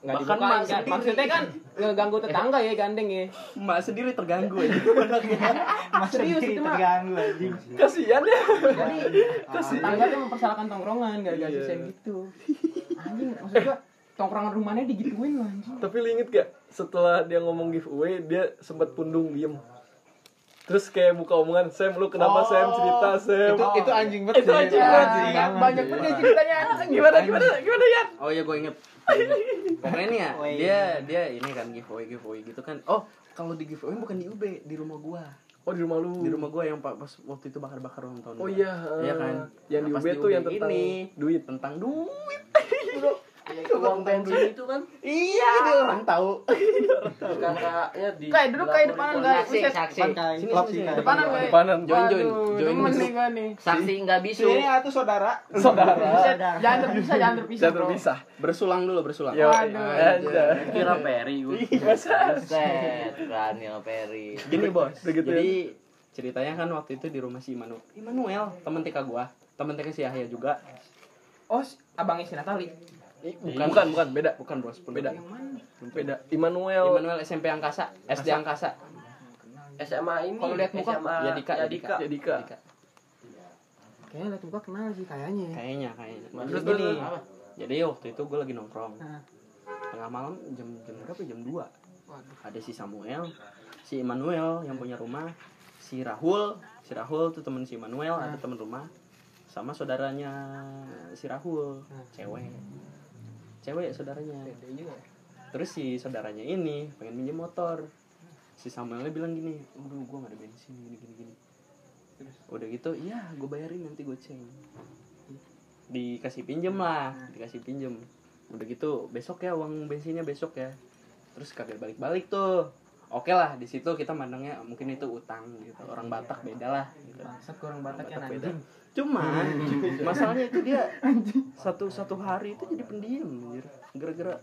[SPEAKER 3] Nggak
[SPEAKER 2] Bahkan
[SPEAKER 3] dibukain,
[SPEAKER 2] mak
[SPEAKER 3] kan.
[SPEAKER 2] sendiri.
[SPEAKER 3] maksudnya kan ngeganggu tetangga ya gandeng ya.
[SPEAKER 2] Mak sendiri terganggu ya. (laughs)
[SPEAKER 3] Serius itu mah
[SPEAKER 7] Terganggu anjing.
[SPEAKER 4] kasihan ya (laughs)
[SPEAKER 3] tetangga tuh mempersalahkan tongkrongan gara-gara si Sam gitu. Anjing maksud gua tongkrongan rumahnya digituin loh anjing.
[SPEAKER 4] tapi lu inget gak setelah dia ngomong giveaway dia sempat pundung diem terus kayak buka omongan Sam lu kenapa Sam
[SPEAKER 2] Oh,
[SPEAKER 4] cerita Sam
[SPEAKER 1] Itu itu anjing banget.
[SPEAKER 4] Itu
[SPEAKER 1] sih.
[SPEAKER 4] anjing banget sih.
[SPEAKER 1] Anjing iya, banget.
[SPEAKER 3] Iya, banyak banget dia ceritanya
[SPEAKER 4] gimana gimana gimana ya
[SPEAKER 2] Oh iya gue inget. Pokoknya nih ya, dia dia ini kan giveaway giveaway gitu kan. Oh kalau di giveaway bukan di UB, di rumah gua.
[SPEAKER 4] oh di rumah lu
[SPEAKER 2] Di rumah gua yang pa- pas waktu itu bakar-bakar ulang tahun.
[SPEAKER 4] oh
[SPEAKER 2] gua.
[SPEAKER 4] iya
[SPEAKER 2] Iya kan.
[SPEAKER 4] yang di
[SPEAKER 2] Nah,
[SPEAKER 4] UB
[SPEAKER 2] pas di
[SPEAKER 4] tuh yang
[SPEAKER 2] UB
[SPEAKER 4] tentang
[SPEAKER 2] ini.
[SPEAKER 4] duit
[SPEAKER 2] Tentang duit.
[SPEAKER 5] Uang bensin itu kan
[SPEAKER 2] Iya, dia orang tahu.
[SPEAKER 5] kakaknya Ya, di
[SPEAKER 3] Kayak dulu kayak depanan, guys.
[SPEAKER 5] Saksi,
[SPEAKER 3] Buset.
[SPEAKER 5] saksi.
[SPEAKER 7] Sini sini.
[SPEAKER 3] depanan gue
[SPEAKER 4] Depanan,
[SPEAKER 2] join, join, join.
[SPEAKER 3] temen nih gue nih
[SPEAKER 5] Saksi nggak bisu.
[SPEAKER 1] Ini atuh saudara.
[SPEAKER 3] Buset, jangan terpisah jangan terpisah
[SPEAKER 4] bisa
[SPEAKER 3] bro
[SPEAKER 4] terpisah
[SPEAKER 2] Bersulang dulu, bersulang.
[SPEAKER 4] ya
[SPEAKER 3] Waduh.
[SPEAKER 4] ada
[SPEAKER 2] Kira peri gue.
[SPEAKER 5] Set, berani sama Iya, Perry.
[SPEAKER 2] Gini bos,
[SPEAKER 4] Begitu ya.
[SPEAKER 2] Oh, jadi ceritanya kan waktu itu di rumah si Imanu Immanuel, temen TK gua, temen TK si Yahya juga.
[SPEAKER 3] oh si- abangnya si Natali
[SPEAKER 2] Bukan, bukan, bukan, beda, bukan bos,
[SPEAKER 4] beda
[SPEAKER 2] beda.
[SPEAKER 4] beda Immanuel
[SPEAKER 2] Immanuel SMP Angkasa, SD Angkasa. Ah,
[SPEAKER 5] SMA ini.
[SPEAKER 3] Kalau lihat muka,
[SPEAKER 5] SMA
[SPEAKER 2] Yadika, Yadika.
[SPEAKER 4] Yadika.
[SPEAKER 3] kayaknya liat muka kenal sih kayaknya ya.
[SPEAKER 2] Kayaknya, kayaknya.
[SPEAKER 5] Maksud
[SPEAKER 2] Terus
[SPEAKER 5] lu
[SPEAKER 2] gini,
[SPEAKER 5] apa?
[SPEAKER 2] jadi waktu itu gue lagi nongkrong.
[SPEAKER 3] Nah.
[SPEAKER 2] Tengah malam jam jam berapa? ya? Jam 2.
[SPEAKER 3] Waduh.
[SPEAKER 2] Ada si Samuel, si Immanuel yang punya rumah, si Rahul, si Rahul tuh temen si Immanuel, ada temen rumah sama saudaranya si Rahul,
[SPEAKER 3] Nah.
[SPEAKER 2] cewek. Cewek saudaranya.
[SPEAKER 3] Beda juga ya.
[SPEAKER 2] Terus si saudaranya ini pengen minjem motor. Si Samuelnya bilang gini, "Aduh, gua gak ada bensin gini gini gini."
[SPEAKER 3] Terus?
[SPEAKER 2] Udah gitu, "Iya, gue bayarin nanti goceng." Dikasih pinjem lah, dikasih pinjem. Udah gitu, besok ya uang bensinnya besok ya. Terus kagak balik-balik tuh. Oke lah, di situ kita mandangnya mungkin itu utang gitu. Orang Batak beda lah gitu.
[SPEAKER 3] bangsat gue orang Batak yang
[SPEAKER 2] Batak beda.
[SPEAKER 3] anjing
[SPEAKER 2] Cuman
[SPEAKER 4] Hmm.
[SPEAKER 2] masalahnya itu
[SPEAKER 4] (laughs)
[SPEAKER 2] dia satu satu hari itu jadi pendiam anjir. gara-gara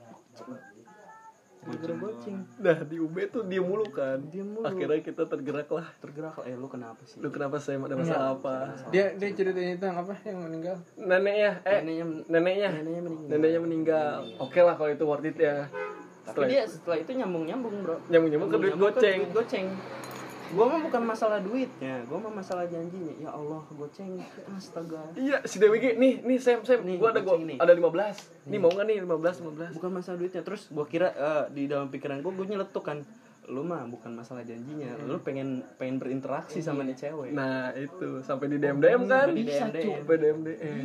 [SPEAKER 2] gara-gara goceng
[SPEAKER 4] nah di UB tuh dia mulu kan
[SPEAKER 2] dia mulu
[SPEAKER 4] akhirnya kita tergerak lah
[SPEAKER 2] tergerak eh lu kenapa sih
[SPEAKER 4] lu kenapa Sam ada masalah
[SPEAKER 2] Iya.
[SPEAKER 4] apa
[SPEAKER 1] Dia dia ceritanya tentang apa yang meninggal?
[SPEAKER 4] neneknya eh
[SPEAKER 2] neneknya
[SPEAKER 4] neneknya
[SPEAKER 2] neneknya meninggal
[SPEAKER 4] neneknya meninggal oke lah kalau itu worth it ya
[SPEAKER 2] tapi dia setelah itu nyambung nyambung bro
[SPEAKER 4] nyambung nyambung ke duit
[SPEAKER 2] Nyambung-nyambung ke
[SPEAKER 4] goceng
[SPEAKER 2] duit goceng gua mah bukan masalah duitnya gua mah masalah janjinya ya Allah goceng astaga
[SPEAKER 4] iya si Dewi G, nih nih Sam Sam
[SPEAKER 2] Nih,
[SPEAKER 4] gua ada gua
[SPEAKER 2] goceng nih.
[SPEAKER 4] ada 15 nih mau nggak nih 15 15
[SPEAKER 2] bukan masalah duitnya terus gua kira eh, di dalam pikiran gua gua nyeletuk kan lu mah bukan masalah janjinya lu pengen pengen berinteraksi sama nih cewek
[SPEAKER 4] nah itu sampai di DM DM kan
[SPEAKER 2] di DM
[SPEAKER 4] sampai DM DM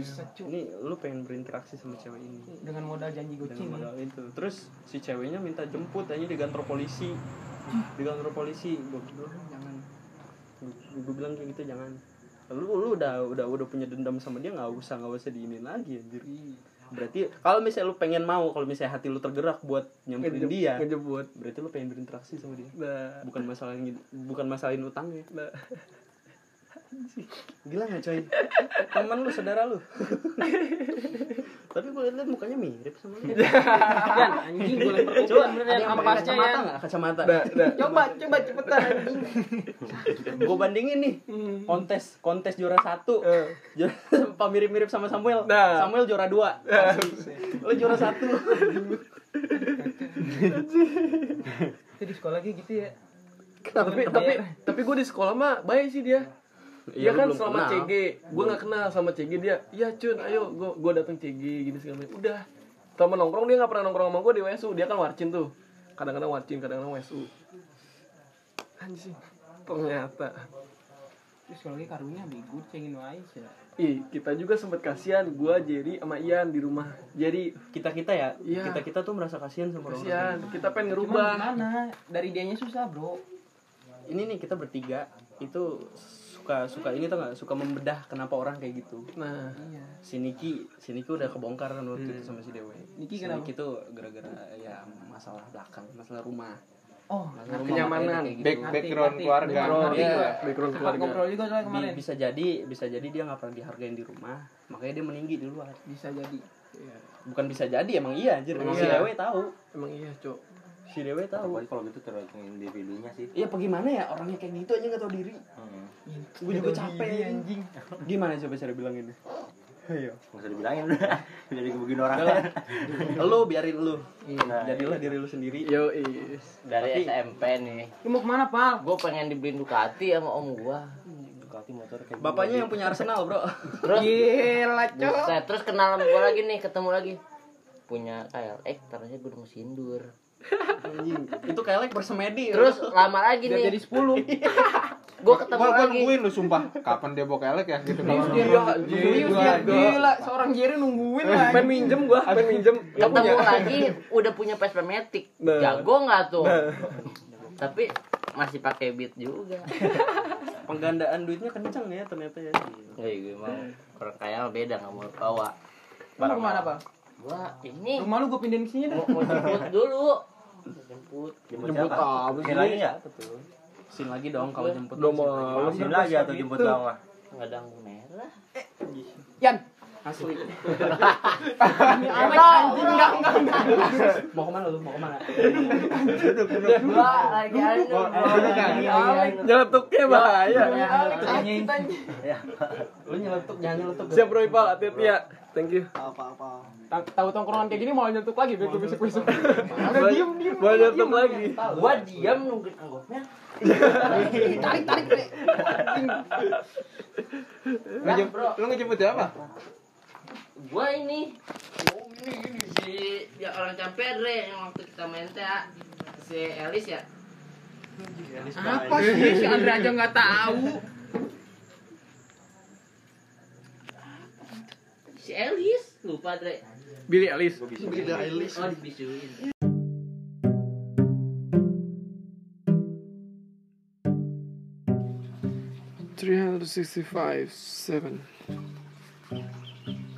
[SPEAKER 2] ini lu pengen berinteraksi sama cewek ini
[SPEAKER 3] dengan modal janji goceng
[SPEAKER 2] dengan modal itu terus si ceweknya minta jemput aja di kantor polisi di kantor polisi gue bilang jangan gue bilang kayak gitu jangan lu lu udah udah udah punya dendam sama dia nggak usah nggak usah diinin lagi anjir berarti kalau misalnya lu pengen mau kalau misalnya hati lu tergerak buat nyamperin dia
[SPEAKER 4] ngejebut
[SPEAKER 2] berarti lu pengen berinteraksi sama dia
[SPEAKER 4] nah
[SPEAKER 2] bukan masalah bukan masalahin utangnya
[SPEAKER 4] nah
[SPEAKER 2] Gila nggak coy?
[SPEAKER 4] Temen lu, saudara lu.
[SPEAKER 2] (laughs) Tapi gue liat mukanya mirip sama lu.
[SPEAKER 3] Yan, anjing gue lempar kuping
[SPEAKER 2] Coba,
[SPEAKER 3] bener
[SPEAKER 2] ada
[SPEAKER 3] ya, Yan,
[SPEAKER 2] yang pakai
[SPEAKER 3] ampasnya
[SPEAKER 2] kacamata
[SPEAKER 3] Yan.
[SPEAKER 4] ya.
[SPEAKER 2] nggak? Kacamata.
[SPEAKER 4] Dah, dah.
[SPEAKER 3] Coba, coba cepetan anjing.
[SPEAKER 2] Gue bandingin nih
[SPEAKER 4] Hmm.
[SPEAKER 2] kontes kontes juara satu, juara (laughs) mirip mirip sama Samuel.
[SPEAKER 4] Nah.
[SPEAKER 2] Samuel juara dua, lo juara satu.
[SPEAKER 3] Itu di sekolah kayak gitu ya.
[SPEAKER 4] tapi
[SPEAKER 3] Temen
[SPEAKER 4] tapi
[SPEAKER 3] ya.
[SPEAKER 4] tapi gue di sekolah mah baik sih dia
[SPEAKER 2] Iya, lu
[SPEAKER 4] dia kan
[SPEAKER 2] belum
[SPEAKER 4] selama
[SPEAKER 2] kenal.
[SPEAKER 4] CG gue nggak kenal sama CG dia iya cun ayo gue gue datang CG gini segala macam udah sama nongkrong dia nggak pernah nongkrong sama gue di WSU dia kan warcin tuh kadang-kadang warcin kadang-kadang WSU anjing ternyata
[SPEAKER 3] Di sekolah kayak karunya bego cengin wae sih.
[SPEAKER 4] ih kita juga sempet kasihan gue Jerry sama Ian di rumah Jerry
[SPEAKER 2] Kita kita ya,
[SPEAKER 4] Iya.
[SPEAKER 2] kita kita tuh merasa kasihan sama orang.
[SPEAKER 4] kasihan kita pengen
[SPEAKER 3] Cuman
[SPEAKER 4] ngerubah
[SPEAKER 3] gimana? Dari dianya susah, Bro.
[SPEAKER 2] Ini nih kita bertiga itu suka suka ini tau nggak suka membedah kenapa orang kayak gitu.
[SPEAKER 4] nah
[SPEAKER 3] Iya.
[SPEAKER 2] si Niki si Niki udah kebongkar kan waktu
[SPEAKER 4] Hmm.
[SPEAKER 2] itu sama si Dewe
[SPEAKER 3] Niki
[SPEAKER 2] si
[SPEAKER 3] kenapa?
[SPEAKER 2] Niki tuh gara-gara ya masalah belakang masalah rumah
[SPEAKER 3] Oh,
[SPEAKER 2] masalah rumah
[SPEAKER 4] Nah, kenyamanan
[SPEAKER 2] makanya kayak gitu.
[SPEAKER 1] Back- background
[SPEAKER 3] ngerti.
[SPEAKER 1] keluarga.
[SPEAKER 3] Background,
[SPEAKER 2] Iya.
[SPEAKER 3] gua.
[SPEAKER 4] background
[SPEAKER 3] Sempat
[SPEAKER 4] keluarga
[SPEAKER 3] ngobrol juga soalnya
[SPEAKER 2] Bi-
[SPEAKER 3] kemarin.
[SPEAKER 2] bisa jadi bisa jadi dia nggak pernah dihargain di rumah makanya dia meninggi di luar
[SPEAKER 3] Bisa jadi.
[SPEAKER 2] bukan bisa jadi emang iya anjir
[SPEAKER 4] Emang
[SPEAKER 2] si
[SPEAKER 4] iya.
[SPEAKER 2] Dewe tahu
[SPEAKER 4] emang iya cok
[SPEAKER 2] si Dewe tahu
[SPEAKER 7] Apalagi kalau gitu tergantung individunya sih. Hmm.
[SPEAKER 2] Iya apa gimana ya orangnya kayak gitu aja nggak tahu diri
[SPEAKER 7] Heeh.
[SPEAKER 2] Gue juga capek anjing Gimana coba cara bilang ini Ayo
[SPEAKER 7] Nggak usah dibilangin udah. (laughs) Jadi kebukin orang.
[SPEAKER 2] Udah lah Lu biarin lu
[SPEAKER 7] Nah,
[SPEAKER 2] Jadilah diri lu sendiri
[SPEAKER 4] yo iya
[SPEAKER 2] Tapi-
[SPEAKER 5] Dari SMP nih.
[SPEAKER 3] Lu mau kemana, Pal?
[SPEAKER 5] Gue pengen dibeliin Ducati sama om gue.
[SPEAKER 7] Ducati motor kayak
[SPEAKER 2] Bapaknya yang punya Arsenal bro
[SPEAKER 5] Terus
[SPEAKER 3] Gila, cok.
[SPEAKER 5] Buset, terus kenal sama gue lagi nih, ketemu lagi punya KLX, ternyata gue udah mau sindur
[SPEAKER 2] Anjing. Itu kayak like bersemedi
[SPEAKER 5] Terus lama lagi
[SPEAKER 3] Biar jadi
[SPEAKER 5] nih, (laughs)
[SPEAKER 3] 10.
[SPEAKER 5] gue ketemu
[SPEAKER 1] gua, gua
[SPEAKER 5] lagi
[SPEAKER 1] nungguin lu sumpah kapan dia bawa kelek ya gitu kalau
[SPEAKER 3] Serius,
[SPEAKER 1] nongkrong.
[SPEAKER 3] dia.
[SPEAKER 1] Iya,
[SPEAKER 3] Serius,
[SPEAKER 1] gua-
[SPEAKER 3] dia.
[SPEAKER 1] gua-
[SPEAKER 3] Gila, seorang Jerry nungguin lah.
[SPEAKER 4] main minjem gua main minjem Gak
[SPEAKER 5] Ketemu lagi, udah punya PSP Matic
[SPEAKER 4] Nah.
[SPEAKER 5] Jago nggak tuh? Tapi masih pakai beat juga
[SPEAKER 2] penggandaan duitnya kenceng ya ternyata ya
[SPEAKER 5] Eh, gue mau orang kaya mah beda nggak mau bawa
[SPEAKER 3] Lu mau kemana, Pal?
[SPEAKER 5] Gua ini
[SPEAKER 3] Rumah lu gua pindahin ke sini dah.
[SPEAKER 5] mau, mau jemput dulu Jemput
[SPEAKER 7] jemput siapa? Jemput lagi ya? Betul.
[SPEAKER 2] sin lagi dong kalau jemput
[SPEAKER 4] Udah mau
[SPEAKER 7] Jemput lagi atau jemput doang lah.
[SPEAKER 5] nggak ada lampu merah
[SPEAKER 3] Yan,
[SPEAKER 2] asli
[SPEAKER 3] enggak enggak.
[SPEAKER 2] mau kemana lu mau kemana
[SPEAKER 5] Gua lagi anu
[SPEAKER 3] Iya,
[SPEAKER 4] nyeletuknya bahaya
[SPEAKER 2] lu nyeletuk jangan nyeletuk
[SPEAKER 4] siap bro Ipal hati-hati ya thank you
[SPEAKER 3] Ta- Tahu tongkrongan kayak gini mau nyentuh lagi biar gue bisik-bisik. Udah
[SPEAKER 4] Gua-
[SPEAKER 3] diem diem.
[SPEAKER 4] gua nyetuk lagi
[SPEAKER 5] Gua diam nungguin anggotnya
[SPEAKER 3] Tarik tarik tarik.
[SPEAKER 1] Lu jemput- lu ngejemput siapa
[SPEAKER 5] gua ini oh ini ini si ya orang campere yang waktu kita main teh si Elis ya
[SPEAKER 3] Apa sih si Andre aja nggak tahu.
[SPEAKER 5] si Elis lupa Dre
[SPEAKER 4] Billy Alice
[SPEAKER 5] oh dibisuin
[SPEAKER 4] three hundred sixty five seven